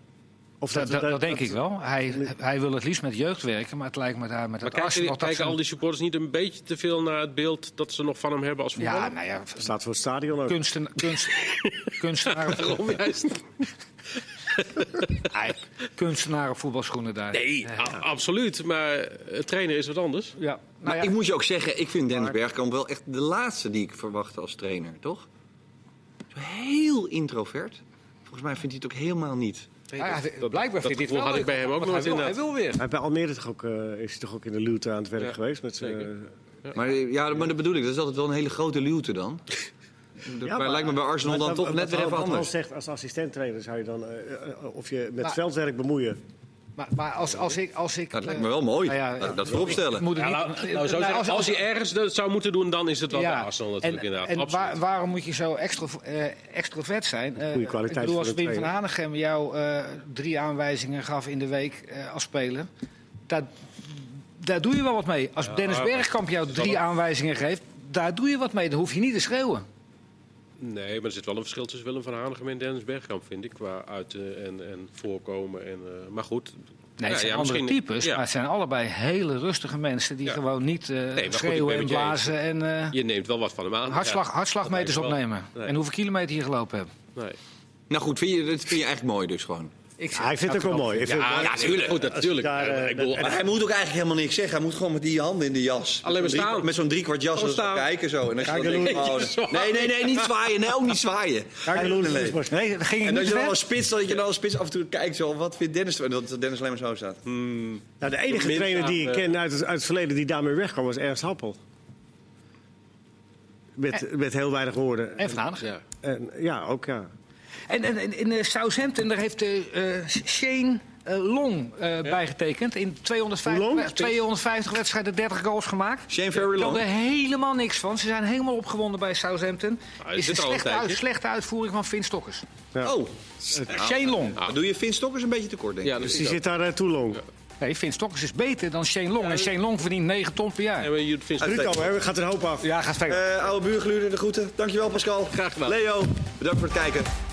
Speaker 1: Of
Speaker 3: Dat, dat, dat denk ik wel. Hij, hij wil het liefst met jeugd werken, maar het lijkt me daar met het
Speaker 4: Maar kijken,
Speaker 3: Arsenal...
Speaker 4: die-
Speaker 3: dat
Speaker 4: kijken
Speaker 3: ze-
Speaker 4: al die supporters niet een beetje te veel naar het beeld dat ze nog van hem hebben als
Speaker 3: Ja,
Speaker 4: voetballer?
Speaker 3: nou ja,
Speaker 1: Staat voor het stadion ook.
Speaker 3: kunsten,
Speaker 4: <laughs>
Speaker 3: kunst, kunstenaar,
Speaker 4: Waarom juist?
Speaker 3: Ei, kunstenaar op voetbalschoenen daar.
Speaker 4: Nee, a- absoluut. Maar eh, trainer is wat anders.
Speaker 3: Ja, nou
Speaker 2: Maar
Speaker 3: ja,
Speaker 2: ik moet je ook zeggen, ik vind Dennis Bergkamp wel echt de laatste die ik verwachtte als trainer, toch? Zo heel introvert. Volgens mij vindt hij het ook helemaal niet.
Speaker 3: hij- hij- blijkbaar
Speaker 4: dat
Speaker 3: vindt hij het
Speaker 4: gevoel
Speaker 3: wel
Speaker 4: had ik
Speaker 3: leuk,
Speaker 4: bij hem ook
Speaker 3: want
Speaker 4: nooit
Speaker 3: hij wil, hij
Speaker 4: inderdaad.
Speaker 3: wil weer.
Speaker 1: Hij bij Almere toch ook, eh, is hij toch ook in de luwte aan het werk
Speaker 4: Ja,
Speaker 1: geweest? Met, zijn,
Speaker 4: zeker.
Speaker 1: eh,
Speaker 2: Maar eh, ja, maar dat bedoel ik, dat is altijd wel een hele grote luwte <laughs> dan. Dat
Speaker 1: Ja,
Speaker 2: maar, lijkt me bij Arsenal
Speaker 1: maar dat-
Speaker 2: dan toch
Speaker 1: wat
Speaker 2: net weer
Speaker 1: Hans-
Speaker 2: even
Speaker 1: wat Hans
Speaker 2: anders.
Speaker 1: zegt, als assistenttrainer zou je dan eh, eh, eh, of je met
Speaker 3: Maar-
Speaker 1: veldwerk bemoeien.
Speaker 3: Maar, maar als, als ik... Als ik
Speaker 2: Dat lijkt
Speaker 3: eh,
Speaker 2: me wel mooi.
Speaker 3: nou ja,
Speaker 2: Laat ik dat <laughs>
Speaker 3: Ik
Speaker 2: vooropstellen.
Speaker 3: moet het niet-
Speaker 4: Ja, nou, nou, zo
Speaker 3: Nou,
Speaker 4: zeggen, als,
Speaker 3: als-
Speaker 4: hij ergens dat zou moeten doen, dan is het wel bij Arsenal natuurlijk
Speaker 3: en,
Speaker 4: inderdaad.
Speaker 3: en
Speaker 4: Absoluut.
Speaker 3: waar- waarom moet je zo extra, eh extrovert zijn? Eh,
Speaker 1: Goeie kwaliteit
Speaker 3: Ik bedoel, als
Speaker 1: voor een
Speaker 3: Wim van
Speaker 1: trainer.
Speaker 3: Hanegem jou eh, drie aanwijzingen gaf in de week eh, als speler... Daar, daar doe je wel wat mee. Als Dennis
Speaker 4: maar-
Speaker 3: Bergkamp jou drie
Speaker 4: wel-
Speaker 3: aanwijzingen geeft... Daar doe je wat mee, dan hoef je niet te schreeuwen.
Speaker 4: Nee, maar er zit wel een verschil tussen Willem van Hanegem en Dennis Bergkamp, vind ik. Qua uiten en, en voorkomen. En, eh, maar goed.
Speaker 3: Nee,
Speaker 4: Ja,
Speaker 3: het zijn
Speaker 4: ja,
Speaker 3: andere
Speaker 4: misschien-
Speaker 3: types,
Speaker 4: ja.
Speaker 3: maar het zijn allebei hele rustige mensen... die
Speaker 4: Ja.
Speaker 3: gewoon niet eh,
Speaker 4: maar goed, ik
Speaker 3: schreeuwen
Speaker 4: ben
Speaker 3: en
Speaker 4: met je eens.
Speaker 3: blazen en eh,
Speaker 4: Je neemt wel wat van hem aan.
Speaker 3: hartslag, hartslagmeters
Speaker 4: dat denk ik wel.
Speaker 3: opnemen.
Speaker 4: Nee.
Speaker 3: En hoeveel kilometer je gelopen hebt.
Speaker 4: Ja, nee. Ah,
Speaker 2: Nou goed, vind je, dat vind je echt mooi dus gewoon.
Speaker 3: Ik Ik zeg,
Speaker 1: Hij vindt het ook wel mooi. Ik vind het
Speaker 4: Ja,
Speaker 1: mooi.
Speaker 4: natuurlijk. Goed, natuurlijk.
Speaker 1: Daar, eh,
Speaker 4: ik bedoel,
Speaker 2: En hij moet ook eigenlijk helemaal niks zeggen. Hij moet gewoon met die handen in de jas.
Speaker 4: Alleen maar
Speaker 2: met zo'n
Speaker 4: staan.
Speaker 2: drie- Met zo'n driekwart jas
Speaker 4: Gewoon
Speaker 2: als
Speaker 4: staan.
Speaker 2: kijken zo. En als je
Speaker 1: Kijk,
Speaker 2: dan
Speaker 1: een
Speaker 2: denkt,
Speaker 4: loertje
Speaker 2: oh, nee, nee, nee, niet zwaaien. Nee, ook niet zwaaien.
Speaker 1: Kijk, Loenen
Speaker 2: Nee.
Speaker 1: is-
Speaker 6: Nee, dat ging ik
Speaker 2: En dat
Speaker 6: niet
Speaker 2: je dan
Speaker 6: weg.
Speaker 2: als spits, dat je dan als spits af en toe kijkt zo, wat vindt Dennis? En dat Dennis alleen maar zo staat.
Speaker 1: Nou, de enige
Speaker 4: Minst
Speaker 1: trainer die ik
Speaker 4: aan, eh,
Speaker 1: ken uit het, uit het verleden die daarmee wegkwam was Ernst Happel. Met, met heel weinig woorden.
Speaker 3: en Vlaanderen.
Speaker 4: ja.
Speaker 1: En, ja, ook ja.
Speaker 3: En, en, en in eh, Southampton, daar heeft eh, eh, Shane eh, Long eh, bijgetekend. In 250,
Speaker 1: Hoe long?
Speaker 3: eh, 250 wedstrijden 30 goals gemaakt.
Speaker 2: Shane Ferry
Speaker 3: Ik kan er
Speaker 2: Long.
Speaker 3: helemaal niks van. Ze zijn helemaal opgewonden bij Southampton.
Speaker 4: Nou, hij
Speaker 3: is
Speaker 4: zit
Speaker 3: een
Speaker 4: er al een
Speaker 3: slechte,
Speaker 4: tijdje.
Speaker 3: uit- slechte uitvoering van Finn Stokkers.
Speaker 1: Ja.
Speaker 2: Oh,
Speaker 3: Shane Long.
Speaker 2: dan doe je Finn Stokkers een beetje tekort, denk ik.
Speaker 4: Ja,
Speaker 1: Dus
Speaker 4: dat
Speaker 1: die
Speaker 4: is
Speaker 1: zit daar eh, toe long.
Speaker 3: Nee, Finn Stokkers is beter dan Shane Long. En Shane Long verdient 9 ton per jaar.
Speaker 4: En je vindt
Speaker 1: Ruud al, hè, gaat er een hoop af.
Speaker 3: Ja, gaat verder.
Speaker 2: Eh, oude buurgluurder, de groeten. Dankjewel, Pascal.
Speaker 4: Graag gedaan.
Speaker 2: Leo, bedankt voor het kijken.